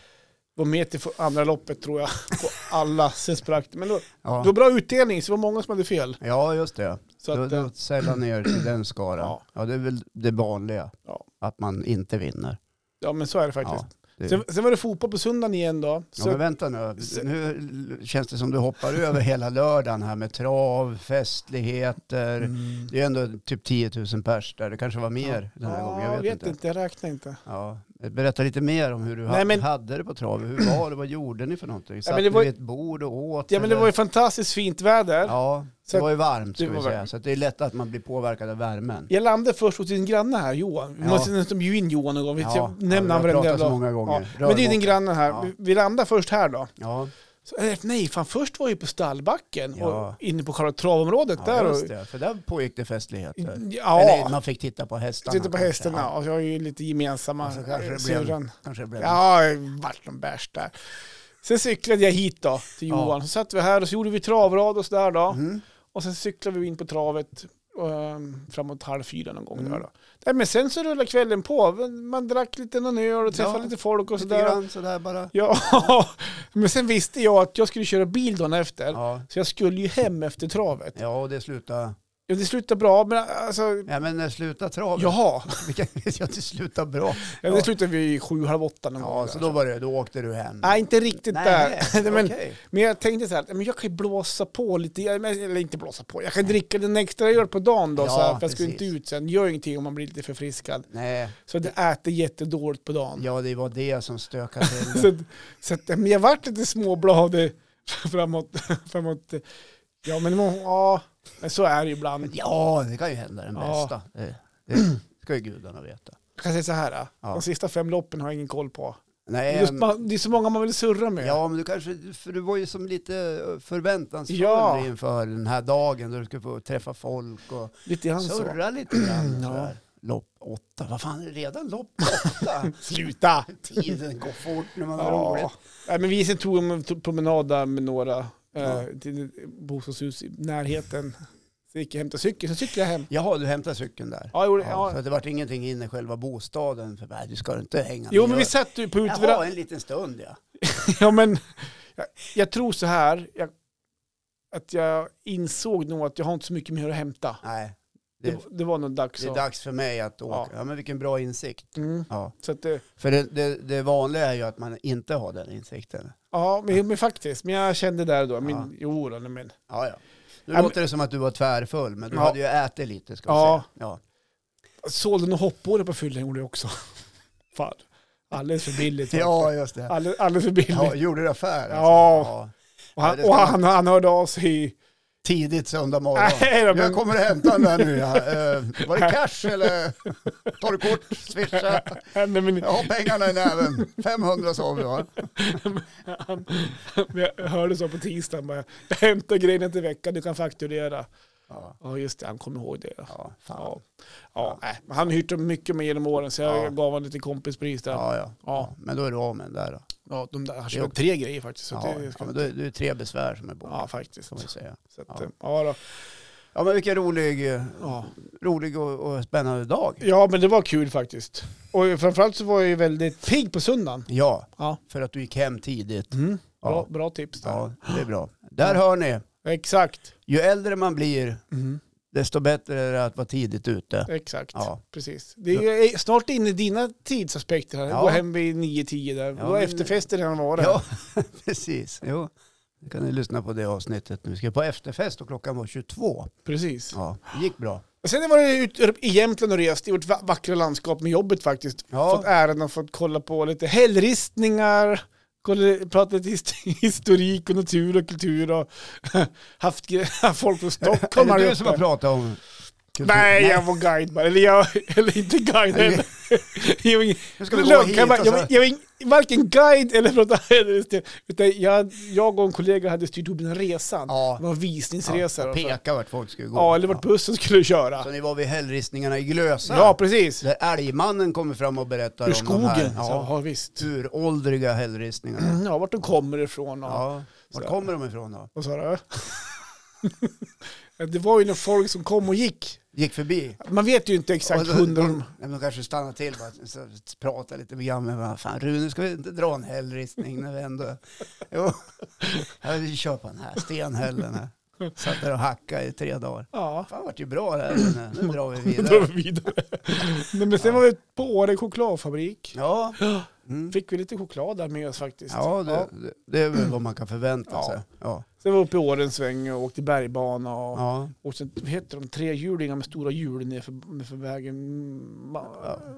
Speaker 2: Var med till för- andra loppet tror jag, *laughs* på alla, sen sprack det. Men då, det var
Speaker 1: Ja.
Speaker 2: bra utdelning, så det var många som hade fel.
Speaker 1: ja, just det.
Speaker 2: Så att,
Speaker 1: då,
Speaker 2: eh,
Speaker 1: då sällar ner till den skaran.
Speaker 2: Ja.
Speaker 1: Ja. det är väl det vanliga.
Speaker 2: Ja.
Speaker 1: Att man inte vinner.
Speaker 2: ja men så är det faktiskt.
Speaker 1: Ja, det...
Speaker 2: Sen, sen var det fotboll på söndagen igen då.
Speaker 1: Ja,
Speaker 2: Så,
Speaker 1: men vänta nu. Nu känns det som du hoppar över hela lördagen här med trav, festligheter.
Speaker 2: Mm.
Speaker 1: Det är ändå typ 10 000 pers där. Det kanske var mer den här gången. Jag vet, inte.
Speaker 2: jag räknar inte.
Speaker 1: Ja. Berätta lite mer om hur du
Speaker 2: Nej, men-
Speaker 1: hade det på trav. Hur var det? Vad gjorde ni för någonting? Satt
Speaker 2: men det
Speaker 1: ni
Speaker 2: var ju-
Speaker 1: vid ett bord och åt?
Speaker 2: Ja men det var ju
Speaker 1: eller?
Speaker 2: fantastiskt fint väder.
Speaker 1: eh, Ja,
Speaker 2: Så
Speaker 1: det
Speaker 2: att-
Speaker 1: var ju varmt
Speaker 2: det
Speaker 1: ska vi
Speaker 2: var
Speaker 1: säga.
Speaker 2: varmt.
Speaker 1: Så att det är lätt att man blir påverkad av värmen.
Speaker 2: Jag landade först hos din granne här, Johan. Vi
Speaker 1: Ja.
Speaker 2: måste nästan bjuda in Johan någon gång. Vi
Speaker 1: Ja,
Speaker 2: nämner
Speaker 1: ja,
Speaker 2: han
Speaker 1: vi har
Speaker 2: varenda
Speaker 1: pratat så
Speaker 2: jävla-
Speaker 1: många gånger.
Speaker 2: Ja. Men det är din
Speaker 1: Rörmokare.
Speaker 2: granne här.
Speaker 1: Ja.
Speaker 2: Vi, vi landade först här då.
Speaker 1: Ja,
Speaker 2: Så, eh, nej, fan först var jag ju på stallbacken
Speaker 1: Ja.
Speaker 2: och inne på själva travområdet
Speaker 1: ja
Speaker 2: där.
Speaker 1: just
Speaker 2: Och,
Speaker 1: det. För där pågick det festligheter. Eller
Speaker 2: ja,
Speaker 1: man fick titta på hästarna.
Speaker 2: sitter på
Speaker 1: kanske.
Speaker 2: hästarna och jag har ju lite gemensamma
Speaker 1: Ja, så kanske
Speaker 2: eh,
Speaker 1: det
Speaker 2: syrran.
Speaker 1: blev, kanske det blev
Speaker 2: Ja, jag vart någon bärs där. Sen cyklade jag hit då till
Speaker 1: Ja.
Speaker 2: Johan. Så satt vi här och så gjorde vi travrad och sådär då.
Speaker 1: Mm.
Speaker 2: Och sen cyklade vi in på travet um, framåt halv fyra någon gång.
Speaker 1: Mm.
Speaker 2: Där då. Nej, men sen så rullade kvällen på. Man drack lite någon öl och träffade
Speaker 1: Ja,
Speaker 2: lite folk och
Speaker 1: Lite
Speaker 2: sådär.
Speaker 1: grann sådär bara.
Speaker 2: Ja, *laughs* men sen visste jag att jag skulle köra bil dagen efter.
Speaker 1: Ja,
Speaker 2: Så jag skulle ju hem efter travet.
Speaker 1: ja och det slutade
Speaker 2: Jo, det slutar bra, men alltså...
Speaker 1: Ja, men eh, sluta travet. *laughs*
Speaker 2: Jaha,
Speaker 1: Vi kan ja, det slutar bra.
Speaker 2: ja. det slutar vid sju, halv åtta någon
Speaker 1: Ja,
Speaker 2: gång.
Speaker 1: så då var det, då åkte du hem.
Speaker 2: Nej, inte riktigt
Speaker 1: Nej,
Speaker 2: där. *laughs* Nej, men,
Speaker 1: okej.
Speaker 2: men jag tänkte så här, men jag kan ju blåsa på lite, eller inte blåsa på, jag kan dricka en extra öl på dagen då,
Speaker 1: Ja,
Speaker 2: så här, för jag ska ju inte
Speaker 1: precis.
Speaker 2: ut sen. Gör ingenting om man blir lite förfriskad.
Speaker 1: Nej,
Speaker 2: Så det äter jättedåligt på dagen.
Speaker 1: ja det var det som stökade till
Speaker 2: *laughs* Så,
Speaker 1: det.
Speaker 2: att- så att, men jag vart lite småbladig *laughs* framåt, framåt. Ja, men man- ja, men så är det ju ibland.
Speaker 1: Ja, det kan ju hända den
Speaker 2: Ja.
Speaker 1: bästa. Det, det ska ju gudarna veta.
Speaker 2: Jag kan säga så här,
Speaker 1: Ja.
Speaker 2: de sista fem loppen har jag ingen koll på.
Speaker 1: Nej,
Speaker 2: Just,
Speaker 1: men-
Speaker 2: man, det är så många man vill surra med.
Speaker 1: Ehm, Ja, men du kanske, för du var ju som lite eh, förväntansfull
Speaker 2: Ja.
Speaker 1: inför den här dagen då du skulle få träffa folk och
Speaker 2: Lite grann så.
Speaker 1: surra lite grann. och
Speaker 2: *clears throat* Ja.
Speaker 1: sådär. Lopp åtta, vad fan är det redan lopp
Speaker 2: *laughs*
Speaker 1: åtta?
Speaker 2: Sluta!
Speaker 1: Tiden går fort när man har
Speaker 2: Ja.
Speaker 1: roligt.
Speaker 2: Nej, men vi sen tog en tog promenad där med några
Speaker 1: Ja.
Speaker 2: eh, till ett bostadshus i närheten. Så gick jag och hämtade cykeln, så cyklade jag hem.
Speaker 1: Jaha, du hämtade cykeln där.
Speaker 2: Ja, jag gjorde,
Speaker 1: Ja, så
Speaker 2: ja.
Speaker 1: att det vart ingenting inne i själva bostaden. För, nej, du ska inte hänga
Speaker 2: Jo,
Speaker 1: med.
Speaker 2: men vi satt ju på uteveranda.
Speaker 1: Jaha, en liten stund ja.
Speaker 2: *laughs* Ja, men jag, jag tror så här, jag, att jag insåg nog att jag har inte så mycket mer att hämta.
Speaker 1: Nej,
Speaker 2: Det,
Speaker 1: det,
Speaker 2: det var nog dags.
Speaker 1: det är
Speaker 2: att-
Speaker 1: dags för mig att åka.
Speaker 2: Ja.
Speaker 1: Ja, men vilken bra insikt.
Speaker 2: Mm.
Speaker 1: Ja.
Speaker 2: Så att det,
Speaker 1: För det, det, det vanliga är ju att man inte har den insikten.
Speaker 2: ja, men, men faktiskt. Men jag kände där då, min,
Speaker 1: Ja.
Speaker 2: jo då, nej, men.
Speaker 1: Ja, ja. Nu
Speaker 2: Ja, men-
Speaker 1: låter det som att du var tvärfull, men du
Speaker 2: Ja.
Speaker 1: hade ju ätit lite ska vi
Speaker 2: Ja.
Speaker 1: säga. Ja.
Speaker 2: Sålde nog hoppborre på fyllan gjorde jag också. *laughs* Fan, alldeles för billigt.
Speaker 1: ja, just det.
Speaker 2: Alldeles, alldeles för billigt.
Speaker 1: Ja, gjorde du affär? Alltså.
Speaker 2: Ja.
Speaker 1: Ja. ja,
Speaker 2: och han,
Speaker 1: det ska
Speaker 2: och
Speaker 1: man-
Speaker 2: han, han hörde av sig i...
Speaker 1: Tidigt söndag morgon.
Speaker 2: Nej, då, men,
Speaker 1: Jag kommer att hämta den där nu.
Speaker 2: *laughs*
Speaker 1: Ja. Eh, var det cash eller tar du kort? Swisha?
Speaker 2: nej, men,
Speaker 1: Jag har pengarna i näven. 500 sa vi va?
Speaker 2: han, men jag hörde så på tisdagen bara, jag hämtar grejerna till veckan, du kan fakturera.
Speaker 1: Ja.
Speaker 2: Ja just det, han kom ihåg det. Ja.
Speaker 1: Ja, fan.
Speaker 2: Ja. Ja, nej, men han har hyrt dem mycket med genom åren så jag
Speaker 1: Ja.
Speaker 2: gav honom lite kompispris där. Ja.
Speaker 1: Ja, ja.
Speaker 2: Ja.
Speaker 1: ja, men då är du av med den där. Då.
Speaker 2: de där, han
Speaker 1: Det är
Speaker 2: köpte tre grejer faktiskt. Så
Speaker 1: Ja,
Speaker 2: det
Speaker 1: ja,
Speaker 2: ska,
Speaker 1: men då är det är tre besvär som är borta.
Speaker 2: ja, faktiskt.
Speaker 1: Kan man ju säga.
Speaker 2: Så att, eh, ja.
Speaker 1: Ja.
Speaker 2: då.
Speaker 1: Ja, men vilken rolig, eh,
Speaker 2: Ja.
Speaker 1: rolig och, och spännande dag.
Speaker 2: ja, men det var kul faktiskt. Och framförallt så var jag ju väldigt pigg på söndagen.
Speaker 1: Ja,
Speaker 2: Ja.
Speaker 1: för att du gick hem tidigt.
Speaker 2: Bra,
Speaker 1: Mm. Ja.
Speaker 2: bra tips där.
Speaker 1: Ja, det är bra. Där hör ni.
Speaker 2: Exakt.
Speaker 1: Ju äldre man blir, desto bättre är det att vara tidigt ute.
Speaker 2: Exakt.
Speaker 1: Mm. Ja.
Speaker 2: Precis. Det är ju eh, snart inne i dina tidsaspekter här.
Speaker 1: Ja.
Speaker 2: Gå hem vid 9-10 där.
Speaker 1: Ja,
Speaker 2: Då har
Speaker 1: men-
Speaker 2: efterfesten redan varit.
Speaker 1: Ja, *laughs* precis. Jo. Nu kan ni lyssna på det avsnittet nu. Vi ska på efterfest och klockan var 22.
Speaker 2: Precis.
Speaker 1: Ja, det gick bra.
Speaker 2: Och Sen var jag ute i Jämtland och rest i vårt va- vackra landskap med jobbet faktiskt.
Speaker 1: Ja.
Speaker 2: Fått äran att fått kolla på lite hällristningar, kolla, prata lite hist- *laughs* historik och natur och kultur och *laughs* haft gre- *laughs* folk från Stockholm
Speaker 1: är
Speaker 2: här
Speaker 1: det du
Speaker 2: uppe.
Speaker 1: som har pratat om kultur?
Speaker 2: Nej, jag var guide bara. Eller, jag, eller inte guide
Speaker 1: Nej,
Speaker 2: heller. Jag var ingen-
Speaker 1: Nu ska vi gå
Speaker 2: Lugn,
Speaker 1: hit
Speaker 2: kan
Speaker 1: och
Speaker 2: man-
Speaker 1: så.
Speaker 2: jag var- jag var ing- varken guide eller prata hällristning. Utan jag, jag och en kollega hade styrt upp den här resan.
Speaker 1: Ja.
Speaker 2: Det var en visningsresa.
Speaker 1: Ja, och
Speaker 2: och så-
Speaker 1: peka vart folk skulle gå.
Speaker 2: ja, eller vart bussen skulle köra.
Speaker 1: Så ni var vid hällristningarna i Glösa?
Speaker 2: Ja, precis.
Speaker 1: Där älgmannen kommer fram och berättar
Speaker 2: Ur
Speaker 1: om de här liksom.
Speaker 2: skogen? Ja,
Speaker 1: ja,
Speaker 2: ja visst. *clears throat*
Speaker 1: uråldriga hällristningarna.
Speaker 2: Mm, Ja, vart de kommer ifrån och,
Speaker 1: Ja. Var
Speaker 2: Så.
Speaker 1: kommer de ifrån då?
Speaker 2: och sådär. *laughs* det var ju när folk som kom och gick.
Speaker 1: Gick förbi?
Speaker 2: Man vet ju inte exakt
Speaker 1: Och då-
Speaker 2: hundra.
Speaker 1: de, nej, men de kanske stannar till bara, så, pratar lite med grann med varandra. Fan Rune, ska vi inte dra en hällristning när vi ändå... *laughs* Jo, jag vill köpa den här stenhällen. Här. Satt där och hackade i tre dagar.
Speaker 2: Ja.
Speaker 1: Fan vart ju bra det här Rune. Nu drar vi
Speaker 2: Då drar
Speaker 1: vidare.
Speaker 2: vi vidare. Nej, men sen var vi på Åre chokladfabrik.
Speaker 1: Ja, mm.
Speaker 2: Fick vi lite choklad där med oss faktiskt.
Speaker 1: ja, det, det- det är väl vad man kan förvänta
Speaker 2: Ja.
Speaker 1: sig. Ja.
Speaker 2: Sen var vi uppe i Åre en sväng och åkte bergbana och,
Speaker 1: Ja.
Speaker 2: och sen, vad heter de, trehjulingar med stora hjul nerför för vägen. Mm, Ma,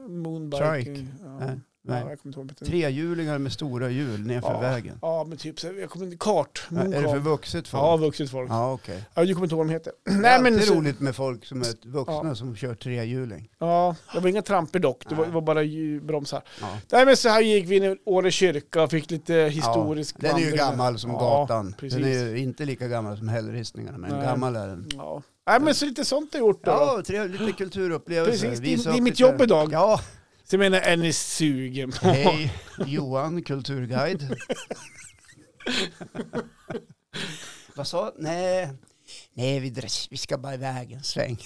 Speaker 2: moonbiking.
Speaker 1: Trike.
Speaker 2: Ja.
Speaker 1: Nej,
Speaker 2: Ja, jag
Speaker 1: nej.
Speaker 2: kommer inte ihåg vad det heter.
Speaker 1: Trehjulingar med stora hjul nerför
Speaker 2: Ja.
Speaker 1: vägen.
Speaker 2: Ja, men typ så här, jag kommer inte kart.
Speaker 1: Ja, är det för vuxet folk?
Speaker 2: Ja, vuxet folk. Ja.
Speaker 1: Ja, okej.
Speaker 2: jag kommer inte ihåg vad de heter.
Speaker 1: Det är
Speaker 2: Nej, men
Speaker 1: alltid
Speaker 2: så,
Speaker 1: roligt med folk som är vuxna som kör trehjuling.
Speaker 2: ja, det var inga tramper dock, det var,
Speaker 1: Nej.
Speaker 2: det var bara ju- bromsar.
Speaker 1: Ja.
Speaker 2: Nej, men så här gick vi in i Åre kyrka och fick lite historisk
Speaker 1: Den är ju
Speaker 2: vandring.
Speaker 1: gammal som
Speaker 2: Ja,
Speaker 1: gatan.
Speaker 2: precis.
Speaker 1: Den är ju inte lika gammal som hällristningarna, men
Speaker 2: Nej.
Speaker 1: gammal är den.
Speaker 2: Ja. Nej, men så lite sånt har jag gjort då.
Speaker 1: Ja, trevligt, lite kulturupplevelser.
Speaker 2: Precis, det är-
Speaker 1: Visa
Speaker 2: det är
Speaker 1: upp
Speaker 2: mitt
Speaker 1: lite-
Speaker 2: jobb idag. *laughs*
Speaker 1: Ja,
Speaker 2: Så jag menar, är ni sugen på...
Speaker 1: hej Johan, kulturguide.
Speaker 2: *laughs*
Speaker 1: Vad sa Nej, nej vi, dras- vi ska bara iväg en sväng.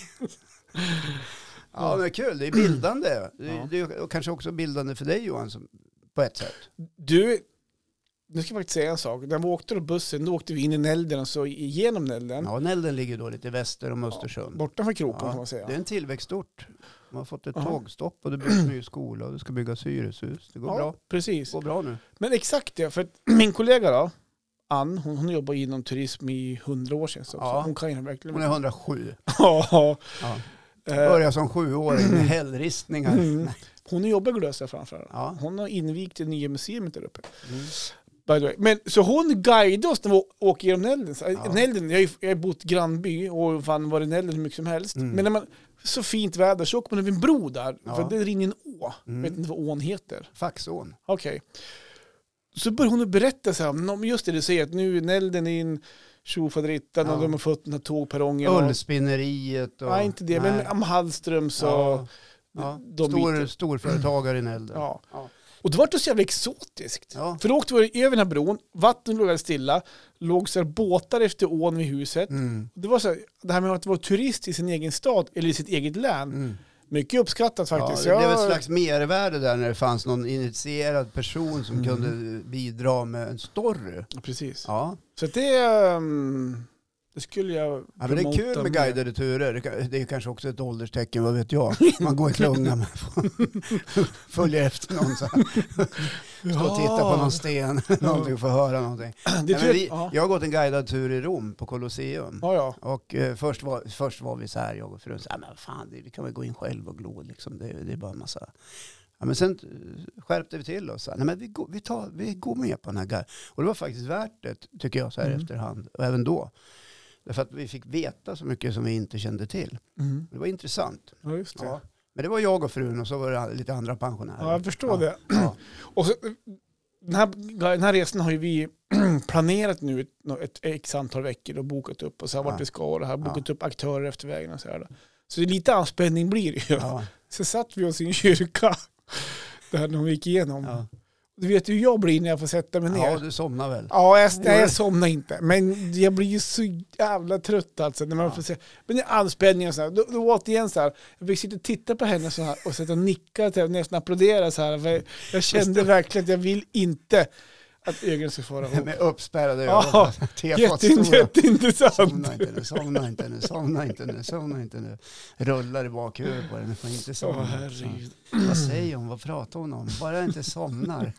Speaker 1: Ja, men kul, det är bildande. Det är,
Speaker 2: Mm. Ja.
Speaker 1: det är kanske också bildande för dig Johan, som, på ett sätt.
Speaker 2: Du, nu ska jag faktiskt säga en sak. När vi åkte då bussen, då åkte vi in i Nälden och så igenom Nälden.
Speaker 1: Ja, Nälden ligger då lite väster om Östersund.
Speaker 2: Bortanför kroken
Speaker 1: Ja,
Speaker 2: kan man säga.
Speaker 1: det är en tillväxtort. Man har fått ett
Speaker 2: Ja.
Speaker 1: tågstopp och det byggs ny skola och det ska byggas hyreshus. Det går
Speaker 2: ja,
Speaker 1: bra. Det
Speaker 2: precis.
Speaker 1: går bra nu.
Speaker 2: Men exakt det, för att *clears throat* min kollega då, Ann, hon, hon jobbar inom turism i hundra år sedan. Så
Speaker 1: Ja.
Speaker 2: så hon kan ju verkligen.
Speaker 1: Hon är 107.
Speaker 2: *laughs* ja.
Speaker 1: Ja.
Speaker 2: Eh,
Speaker 1: Börjar som sjuåring med hällristningar.
Speaker 2: Mm. Hon jobbar glösa framför allt.
Speaker 1: Ja.
Speaker 2: Hon har invigt det nya museet där uppe.
Speaker 1: Mm.
Speaker 2: By the way. Men, så hon guidade oss när vi å- åker genom Nälden. Så, äh,
Speaker 1: Ja.
Speaker 2: Nälden jag har ju jag har bott grannby och fan varit i Nälden hur mycket som helst.
Speaker 1: Mm.
Speaker 2: Men när man, så fint väder så åker man över en bro där.
Speaker 1: Ja.
Speaker 2: För det rinner en å.
Speaker 1: Mm.
Speaker 2: Jag vet inte vad ån heter.
Speaker 1: Faxån.
Speaker 2: Okej. Så börjar hon att berätta så här, om- om just det du säger, att nu är Nälden i en tjofaderittan
Speaker 1: Ja.
Speaker 2: och de har fått den här tågperrongen. och-
Speaker 1: Ullspinneriet och...
Speaker 2: Nej, inte det,
Speaker 1: Nej.
Speaker 2: men om Hallströms och...
Speaker 1: Ja. Ja.
Speaker 2: de
Speaker 1: Stor,
Speaker 2: bitar.
Speaker 1: storföretagare i Nälden.
Speaker 2: Ja.
Speaker 1: Ja.
Speaker 2: Och då var det så jävla exotiskt.
Speaker 1: Ja.
Speaker 2: För då åkte vi över den här bron, vattnet låg alldeles stilla, låg så här båtar efter ån vid huset.
Speaker 1: Mm.
Speaker 2: Det var så här, det här med att vara turist i sin egen stad eller i sitt eget län,
Speaker 1: Mm.
Speaker 2: mycket uppskattat faktiskt.
Speaker 1: Ja, det blev
Speaker 2: Jag-
Speaker 1: ett slags mervärde där när det fanns någon initierad person
Speaker 2: Mm.
Speaker 1: som kunde bidra med en story.
Speaker 2: Ja, Precis.
Speaker 1: Ja.
Speaker 2: Så att det, ehm, det skulle jag...
Speaker 1: Ja, men det är
Speaker 2: promota
Speaker 1: kul med guidade turer. Det kan- Det är kanske också ett ålderstecken, vad vet
Speaker 2: *laughs*
Speaker 1: jag. Man går i klunga, man får- *laughs* följer efter någon så här. Står och tittar på någon sten *laughs* eller någonting och får höra någonting.
Speaker 2: Det
Speaker 1: Nej, men
Speaker 2: tror
Speaker 1: vi,
Speaker 2: jag, ja.
Speaker 1: jag har gått en guidad tur i Rom på Colosseum.
Speaker 2: Ja, ja.
Speaker 1: Och eh, först, var, först var vi så här, jag och frun, så här, men vad fan, det, vi kan väl gå in själv och glo liksom. Det, det är bara en massa... Ja, men sen eh, skärpte vi till oss. så här, Nej, men vi, går, vi, tar, vi går med på den här guiden. Och det var faktiskt värt det, tycker jag, så här
Speaker 2: Mm.
Speaker 1: efterhand. Och även då. Därför att vi fick veta så mycket som vi inte kände till.
Speaker 2: Mm.
Speaker 1: Det var intressant.
Speaker 2: ja, just det.
Speaker 1: Ja.
Speaker 2: Ja.
Speaker 1: Men det var jag och frun och så var det lite andra pensionärer.
Speaker 2: jag förstår
Speaker 1: Ja.
Speaker 2: det.
Speaker 1: Ja.
Speaker 2: Och så, den, här, den här resan har ju vi *clears throat* planerat nu ett, ett x antal veckor och bokat upp och så här
Speaker 1: Ja.
Speaker 2: vart vi ska och det här, bokat upp aktörer efter vägen och så här. Så det är lite anspänning blir det ju.
Speaker 1: Ja.
Speaker 2: Så satt vi oss i en kyrka, *laughs* där de gick igenom.
Speaker 1: Ja.
Speaker 2: Du vet hur jag blir när jag får sätta mig ner.
Speaker 1: ja,
Speaker 2: Ja,
Speaker 1: du somnar väl?
Speaker 2: jag, nej, jag somnar inte. Men jag blir ju så jävla trött alltså. När man
Speaker 1: Ja.
Speaker 2: får se. Men det är anspänning och så här. Då, då återigen så här. Jag fick sitta och titta på henne så här och sätta och nicka till henne, nästan applådera så här. För jag- jag kände verkligen att jag vill inte att ögonen ska fara ihop.
Speaker 1: Med uppspärrade ögon.
Speaker 2: Ja, Jätte,
Speaker 1: Tefatstora.
Speaker 2: jätteintressant.
Speaker 1: Somna inte nu, somna inte nu, somna inte nu, somna inte nu. Rullar i bakhuvudet på den, får inte
Speaker 2: Åh
Speaker 1: somna.
Speaker 2: herregud.
Speaker 1: Vad säger hon, vad pratar hon om? Bara jag inte
Speaker 2: *laughs*
Speaker 1: somnar.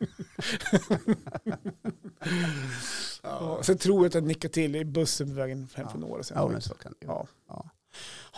Speaker 2: Ja, sen tror jag att jag nickade till i bussen på vägen hem från Åre sen.
Speaker 1: Ja, men så kan det ju vara.
Speaker 2: Ja.
Speaker 1: Ja.
Speaker 2: Mm.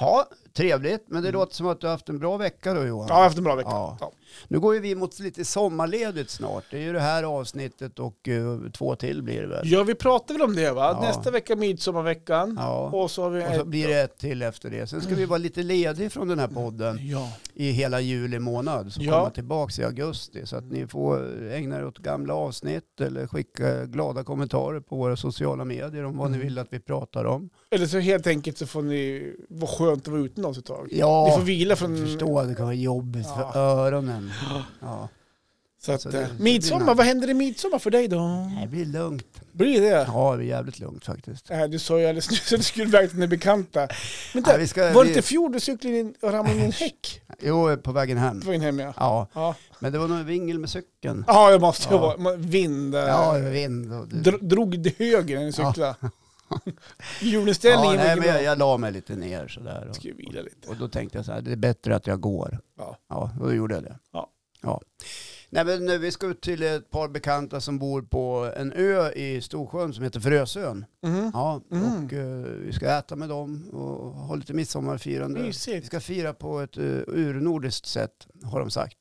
Speaker 1: Ja, trevligt, men det låter som att du har haft en bra vecka då Johan.
Speaker 2: jag har haft en bra vecka.
Speaker 1: Ja.
Speaker 2: Ja.
Speaker 1: Nu går ju vi mot lite sommarledigt snart. Det är ju det här avsnittet och eh, två till blir det väl?
Speaker 2: Ja, vi pratade väl om det va?
Speaker 1: Ja.
Speaker 2: Nästa vecka midsommarveckan.
Speaker 1: Ja,
Speaker 2: Och eh, så har vi...
Speaker 1: och så blir det ett till efter det. Sen ska vi vara lite lediga från den här podden.
Speaker 2: Ja.
Speaker 1: i hela juli månad. Så
Speaker 2: Ja.
Speaker 1: komma tillbaka i augusti. Så att ni får ägna er åt gamla avsnitt eller skicka glada kommentarer på våra sociala medier om vad ni
Speaker 2: Mm.
Speaker 1: vill att vi pratar om.
Speaker 2: Eller så helt enkelt så får ni... Vad skönt att vara utomlands ett tag.
Speaker 1: Ja,
Speaker 2: Ni får vila från...
Speaker 1: jag förstår. Det kan vara jobbigt
Speaker 2: Ja.
Speaker 1: för öronen. Ja.
Speaker 2: Så att,
Speaker 1: Så Alltså, det-
Speaker 2: eh,
Speaker 1: det blir
Speaker 2: midsommar,
Speaker 1: nice.
Speaker 2: vad händer i midsommar för dig då?
Speaker 1: Det blir lugnt.
Speaker 2: Blir det?
Speaker 1: Ja, det blir jävligt lugnt faktiskt.
Speaker 2: Nej, du sa ju alldeles nyss att du skulle iväg till dina bekanta. Men
Speaker 1: Nej,
Speaker 2: där,
Speaker 1: vi ska,
Speaker 2: var det
Speaker 1: vi,
Speaker 2: inte i fjol du cyklade in och ramlade in i en häck
Speaker 1: jo, på vägen hem.
Speaker 2: på vägen hem? Ja,
Speaker 1: Ja,
Speaker 2: ja.
Speaker 1: men det var nog en vingel med cykeln.
Speaker 2: ja det måste ju
Speaker 1: Ja.
Speaker 2: vara. Men Vind. eh,
Speaker 1: Ja, vind och...
Speaker 2: dro- Drog det höger när du
Speaker 1: Ja.
Speaker 2: cyklade? *laughs*
Speaker 1: Ja,
Speaker 2: Hjulinställningen
Speaker 1: nej,
Speaker 2: var
Speaker 1: men
Speaker 2: ju
Speaker 1: jag,
Speaker 2: bra.
Speaker 1: jag la mig lite ner sådär.
Speaker 2: Ska ju vila lite.
Speaker 1: Och då tänkte jag så här, det är bättre att jag går.
Speaker 2: Ja.
Speaker 1: Ja, och då gjorde jag det.
Speaker 2: Ja.
Speaker 1: ja. Nej, men nu, vi ska ut till ett par bekanta som bor på en ö i Storsjön som heter Frösön.
Speaker 2: Mhm.
Speaker 1: Ja,
Speaker 2: Mm.
Speaker 1: och eh, vi ska äta med dem och ha lite midsommarfirande. Vi
Speaker 2: Mysigt.
Speaker 1: ska fira på ett uh, urnordiskt sätt, har de sagt.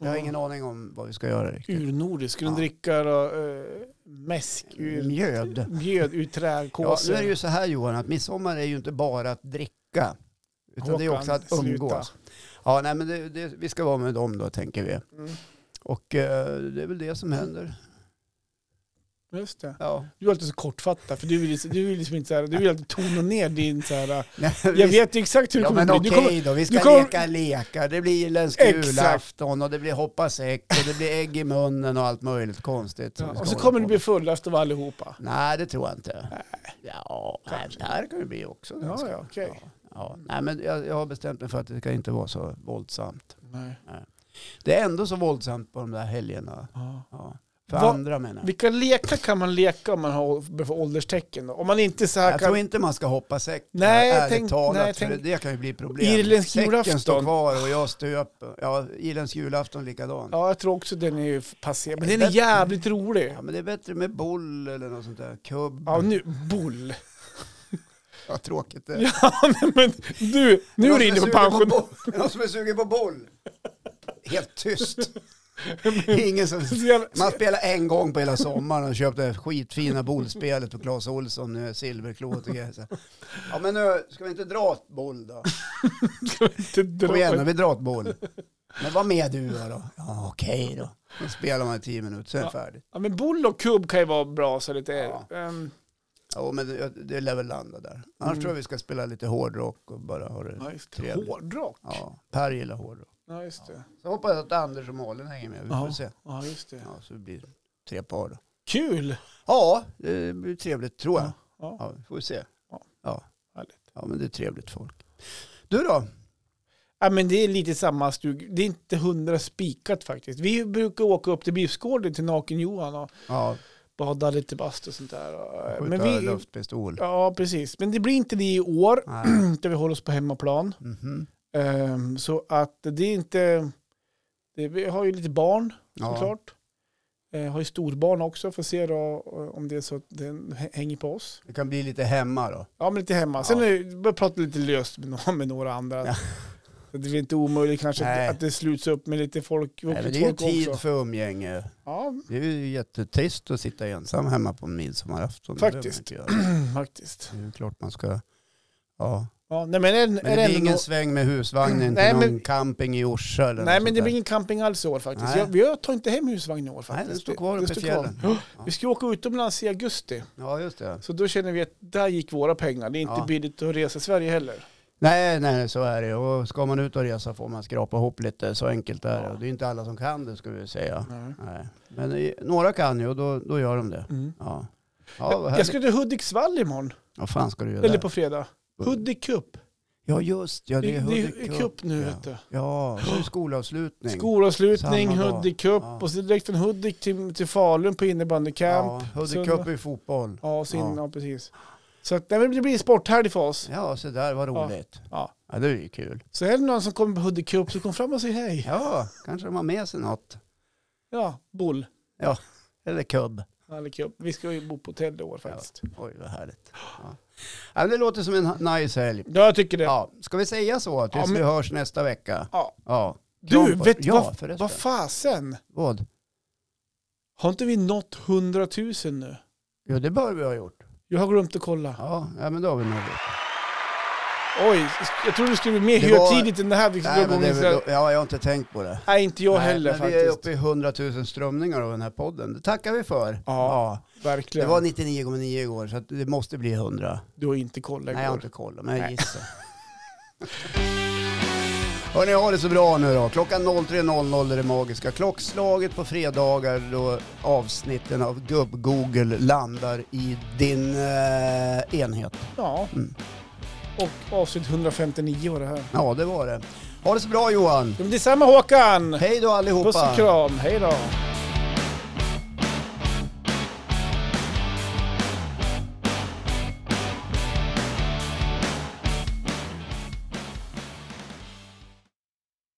Speaker 1: Jag har
Speaker 2: Ja.
Speaker 1: ingen aning om vad vi ska göra riktigt.
Speaker 2: Urnordisk, skulle de
Speaker 1: Ja.
Speaker 2: dricka då, eh, mäsk ur
Speaker 1: Mjöd.
Speaker 2: mjöd ur
Speaker 1: Ja,
Speaker 2: trädkåsor?
Speaker 1: nu är det ju så här Johan, att midsommar är ju inte bara att dricka. Utan det är
Speaker 2: Håkan,
Speaker 1: också att
Speaker 2: sluta.
Speaker 1: umgås. Ja, nej, men det, det, vi ska vara med dem då, tänker vi.
Speaker 2: Mm,
Speaker 1: Och eh, det är väl det som händer.
Speaker 2: just det.
Speaker 1: Ja.
Speaker 2: Du är alltid så kortfattad, för du vill, du vill liksom inte så här, du vill alltid tona ner din så här,
Speaker 1: Nej,
Speaker 2: jag
Speaker 1: vi-
Speaker 2: vet ju exakt hur det
Speaker 1: Ja
Speaker 2: kommer
Speaker 1: men
Speaker 2: bli.
Speaker 1: okej
Speaker 2: Du kommer,
Speaker 1: då, vi
Speaker 2: du
Speaker 1: ska
Speaker 2: kommer-
Speaker 1: leka lekar. Det blir irländsk
Speaker 2: Exakt.
Speaker 1: julafton och det blir hoppa säck och det blir ägg i munnen och allt möjligt konstigt. som vi
Speaker 2: ja,
Speaker 1: ska
Speaker 2: och så
Speaker 1: hålla
Speaker 2: kommer
Speaker 1: på
Speaker 2: du bli fullast av allihopa.
Speaker 1: med. Nej det tror jag inte. Ja, nej, det här kan det bli också.
Speaker 2: Ja,
Speaker 1: ganska-
Speaker 2: ja, okej.
Speaker 1: ja, ja. Nej men jag, jag har bestämt mig för att det ska inte vara så våldsamt.
Speaker 2: Nej.
Speaker 1: Det är ändå så våldsamt på de där helgerna.
Speaker 2: Ja.
Speaker 1: Ja. För
Speaker 2: Vad-
Speaker 1: andra menar jag.
Speaker 2: Vilka lekar kan man leka om man har för ålderstecken? Då? Om man inte så här
Speaker 1: Jag
Speaker 2: kan...
Speaker 1: tror inte man ska hoppa säck.
Speaker 2: Nej,
Speaker 1: ärligt
Speaker 2: tänk-
Speaker 1: talat,
Speaker 2: nej,
Speaker 1: för
Speaker 2: tänk-
Speaker 1: det kan ju bli problem.
Speaker 2: Irländsk
Speaker 1: Säcken
Speaker 2: julafton.
Speaker 1: står kvar och jag stöper. Ja, irländsk julafton likadan. Ja.
Speaker 2: Ja, jag tror också den är ju passé.
Speaker 1: Det
Speaker 2: Men
Speaker 1: är
Speaker 2: den är
Speaker 1: bättre.
Speaker 2: jävligt rolig.
Speaker 1: men det är bättre med boll eller något sånt där. Kubb.
Speaker 2: Ja, nu, boll.
Speaker 1: Ja, tråkigt det.
Speaker 2: Ja, *laughs* nej, men du, nu är du inne på pension.
Speaker 1: Det är någon som är sugen på boll. Helt
Speaker 2: *laughs*
Speaker 1: tyst. Ingen som...
Speaker 2: *laughs* Så jävla-
Speaker 1: Man spelar en gång på hela sommaren och köpte det här skitfina bollspelet på Clas Ohlson, eh, silverklot och grejer. så här. Ja men nu, ska vi inte dra ett boll då?
Speaker 2: Ska vi inte
Speaker 1: Kom
Speaker 2: dra-
Speaker 1: igen nu, vi drar ett boll. Men vad med du då? då? Ja okej då. Då spelar man i tio minuter, sen är det färdigt.
Speaker 2: Ja, men boll och kubb kan ju vara bra så lite...
Speaker 1: Ja.
Speaker 2: ehm,
Speaker 1: Ja men det- det lär väl landa där. Annars
Speaker 2: Mm.
Speaker 1: tror jag vi ska spela lite hårdrock och bara ha det.
Speaker 2: ja, just det.
Speaker 1: Trevligt.
Speaker 2: Hårdrock.
Speaker 1: Ja, Per gillar hårdrock.
Speaker 2: Ja, just det.
Speaker 1: Så hoppas jag att Anders och Malin hänger med. Vi får
Speaker 2: Ja.
Speaker 1: se.
Speaker 2: Ja, just det.
Speaker 1: Ja, så det blir tre par då.
Speaker 2: Kul!
Speaker 1: Ja, det blir trevligt tror jag.
Speaker 2: Ja,
Speaker 1: Ja, vi får se.
Speaker 2: Ja.
Speaker 1: Ja.
Speaker 2: härligt.
Speaker 1: ja, men det är trevligt folk. Du då?
Speaker 2: Ja, men det är lite samma stug. Det är inte hundra spikat faktiskt. Vi brukar åka upp till Biffsgården till Naken-Johan och
Speaker 1: Ja,
Speaker 2: bada lite bast och sånt där. Och,
Speaker 1: skjuta
Speaker 2: Men vi,
Speaker 1: luftpistol.
Speaker 2: ja, precis. Men det blir inte det i år, *clears throat*
Speaker 1: Nej.
Speaker 2: där vi håller oss på hemmaplan.
Speaker 1: Mhm.
Speaker 2: Ehm, så att det är inte... Det, vi har ju lite barn
Speaker 1: Ja.
Speaker 2: såklart. Eh, har ju storbarn också, får se då eh, om det är så att den hä- hänger på oss.
Speaker 1: Det kan bli lite hemma då.
Speaker 2: Ja, men lite hemma. Sen
Speaker 1: Ja.
Speaker 2: är det- börjar jag prata lite löst med några, med några andra.
Speaker 1: Ja.
Speaker 2: Så Det är inte omöjligt kanske
Speaker 1: Nej.
Speaker 2: att, att det sluts upp med lite folk,
Speaker 1: Nej, men
Speaker 2: vuxet
Speaker 1: det är ju
Speaker 2: folk
Speaker 1: tid
Speaker 2: också.
Speaker 1: för umgänge.
Speaker 2: Ja,
Speaker 1: Det är ju jättetrist att sitta ensam hemma på midsommarafton.
Speaker 2: Faktiskt.
Speaker 1: Det, behöver man inte göra.
Speaker 2: faktiskt.
Speaker 1: det är ju klart man ska... Ja.
Speaker 2: Ja, nej, men är,
Speaker 1: Men
Speaker 2: är
Speaker 1: det blir
Speaker 2: ändå-
Speaker 1: ingen sväng med husvagnen
Speaker 2: Nej,
Speaker 1: till någon
Speaker 2: men-
Speaker 1: camping i Orsa eller
Speaker 2: Nej,
Speaker 1: något
Speaker 2: men
Speaker 1: sånt
Speaker 2: det
Speaker 1: där.
Speaker 2: blir ingen camping alls i år faktiskt.
Speaker 1: Nej.
Speaker 2: Jag, jag tar inte hem husvagn i år
Speaker 1: Nej,
Speaker 2: faktiskt.
Speaker 1: den står kvar
Speaker 2: Det- det
Speaker 1: uppe i
Speaker 2: står kvar.
Speaker 1: fjällen.
Speaker 2: Ja.
Speaker 1: Ja.
Speaker 2: Vi ska åka utomlands i augusti,
Speaker 1: Ja, just det.
Speaker 2: så då känner vi att där gick våra pengar. Det är inte
Speaker 1: Ja.
Speaker 2: billigt att resa i Sverige heller.
Speaker 1: Nej, nej, så är det. Och ska man ut och resa får man skrapa ihop lite. Så enkelt är det.
Speaker 2: Ja.
Speaker 1: Och det är inte alla som kan det, skulle vi säga.
Speaker 2: Nej.
Speaker 1: Nej. Men i- några kan ju och då, då gör de det.
Speaker 2: Mm.
Speaker 1: Ja. Ja, vad
Speaker 2: jag
Speaker 1: härligt.
Speaker 2: ska till Hudiksvall imorgon,
Speaker 1: Vad fan ska du göra
Speaker 2: eller
Speaker 1: där?
Speaker 2: på fredag. Hudik Cup.
Speaker 1: Ja, just ja,
Speaker 2: Det
Speaker 1: det är
Speaker 2: det är
Speaker 1: Hudik
Speaker 2: cup nu
Speaker 1: ja.
Speaker 2: vet du.
Speaker 1: Ja, så är det skolavslutning.
Speaker 2: Skolavslutning,
Speaker 1: Samma dag.
Speaker 2: Hudik Cup
Speaker 1: Ja.
Speaker 2: och så direkt från Hudik till, till Falun på innebandycamp.
Speaker 1: Ja, Hudik
Speaker 2: Sunda.
Speaker 1: Cup är fotboll.
Speaker 2: Ja, och så in, ja.
Speaker 1: Ja.
Speaker 2: precis. Så att, nej, men det blir en sporthelg för oss.
Speaker 1: Ja, så där, vad
Speaker 2: Ja.
Speaker 1: roligt.
Speaker 2: Ja.
Speaker 1: Ja, det är ju kul.
Speaker 2: Så är det någon som kommer på Hudik Cup så kom fram och säg hej.
Speaker 1: Ja, kanske de har med sig något.
Speaker 2: Ja, boll.
Speaker 1: Eller kubb.
Speaker 2: Alla cup. Vi ska ju bo på hotell i år faktiskt. Ja,
Speaker 1: Oj, vad härligt. Ja. Ja, men det låter som en nice helg.
Speaker 2: jag tycker det. Ja.
Speaker 1: Ja, ska vi säga så tills
Speaker 2: Ja, men-
Speaker 1: vi hörs nästa vecka? Ja.
Speaker 2: Du,
Speaker 1: Kram på-
Speaker 2: vet du
Speaker 1: ja,
Speaker 2: vad,
Speaker 1: förresten.
Speaker 2: vad fasen?
Speaker 1: Vad?
Speaker 2: Har inte vi nått 100 000 nu?
Speaker 1: Jo, det bör vi ha gjort.
Speaker 2: Jag har glömt att kolla.
Speaker 1: Ja, ja men då har vi nog gjort.
Speaker 2: Oj, jag trodde det skulle bli mer
Speaker 1: Det var-
Speaker 2: högtidligt än det här. Vi
Speaker 1: Nej,
Speaker 2: skulle
Speaker 1: men
Speaker 2: Nej,
Speaker 1: det är
Speaker 2: det
Speaker 1: väl då, ja, jag har inte tänkt på det.
Speaker 2: Nej, inte jag
Speaker 1: Nej,
Speaker 2: heller
Speaker 1: men
Speaker 2: faktiskt.
Speaker 1: Vi är uppe i 100 000 strömningar av den här podden. Det tackar vi för. Ja. Det
Speaker 2: Verkligen.
Speaker 1: var 99,9 igår, så att det måste bli 100.
Speaker 2: Du har inte kollat
Speaker 1: Nej, jag har
Speaker 2: igår.
Speaker 1: inte kollat, men jag
Speaker 2: Nej.
Speaker 1: gissar. *laughs* Hörni, ha det så bra nu då. Klockan 03.00 är det magiska klockslaget på fredagar då avsnitten av Gubb-Google landar i din eh, enhet.
Speaker 2: Ja.
Speaker 1: Mm.
Speaker 2: Och avsnitt 159 var det här.
Speaker 1: Ja, det var det. Ha det så bra Johan.
Speaker 2: Ja, men Detsamma Håkan!
Speaker 1: Hej då allihopa.
Speaker 2: Puss och kram, hej då!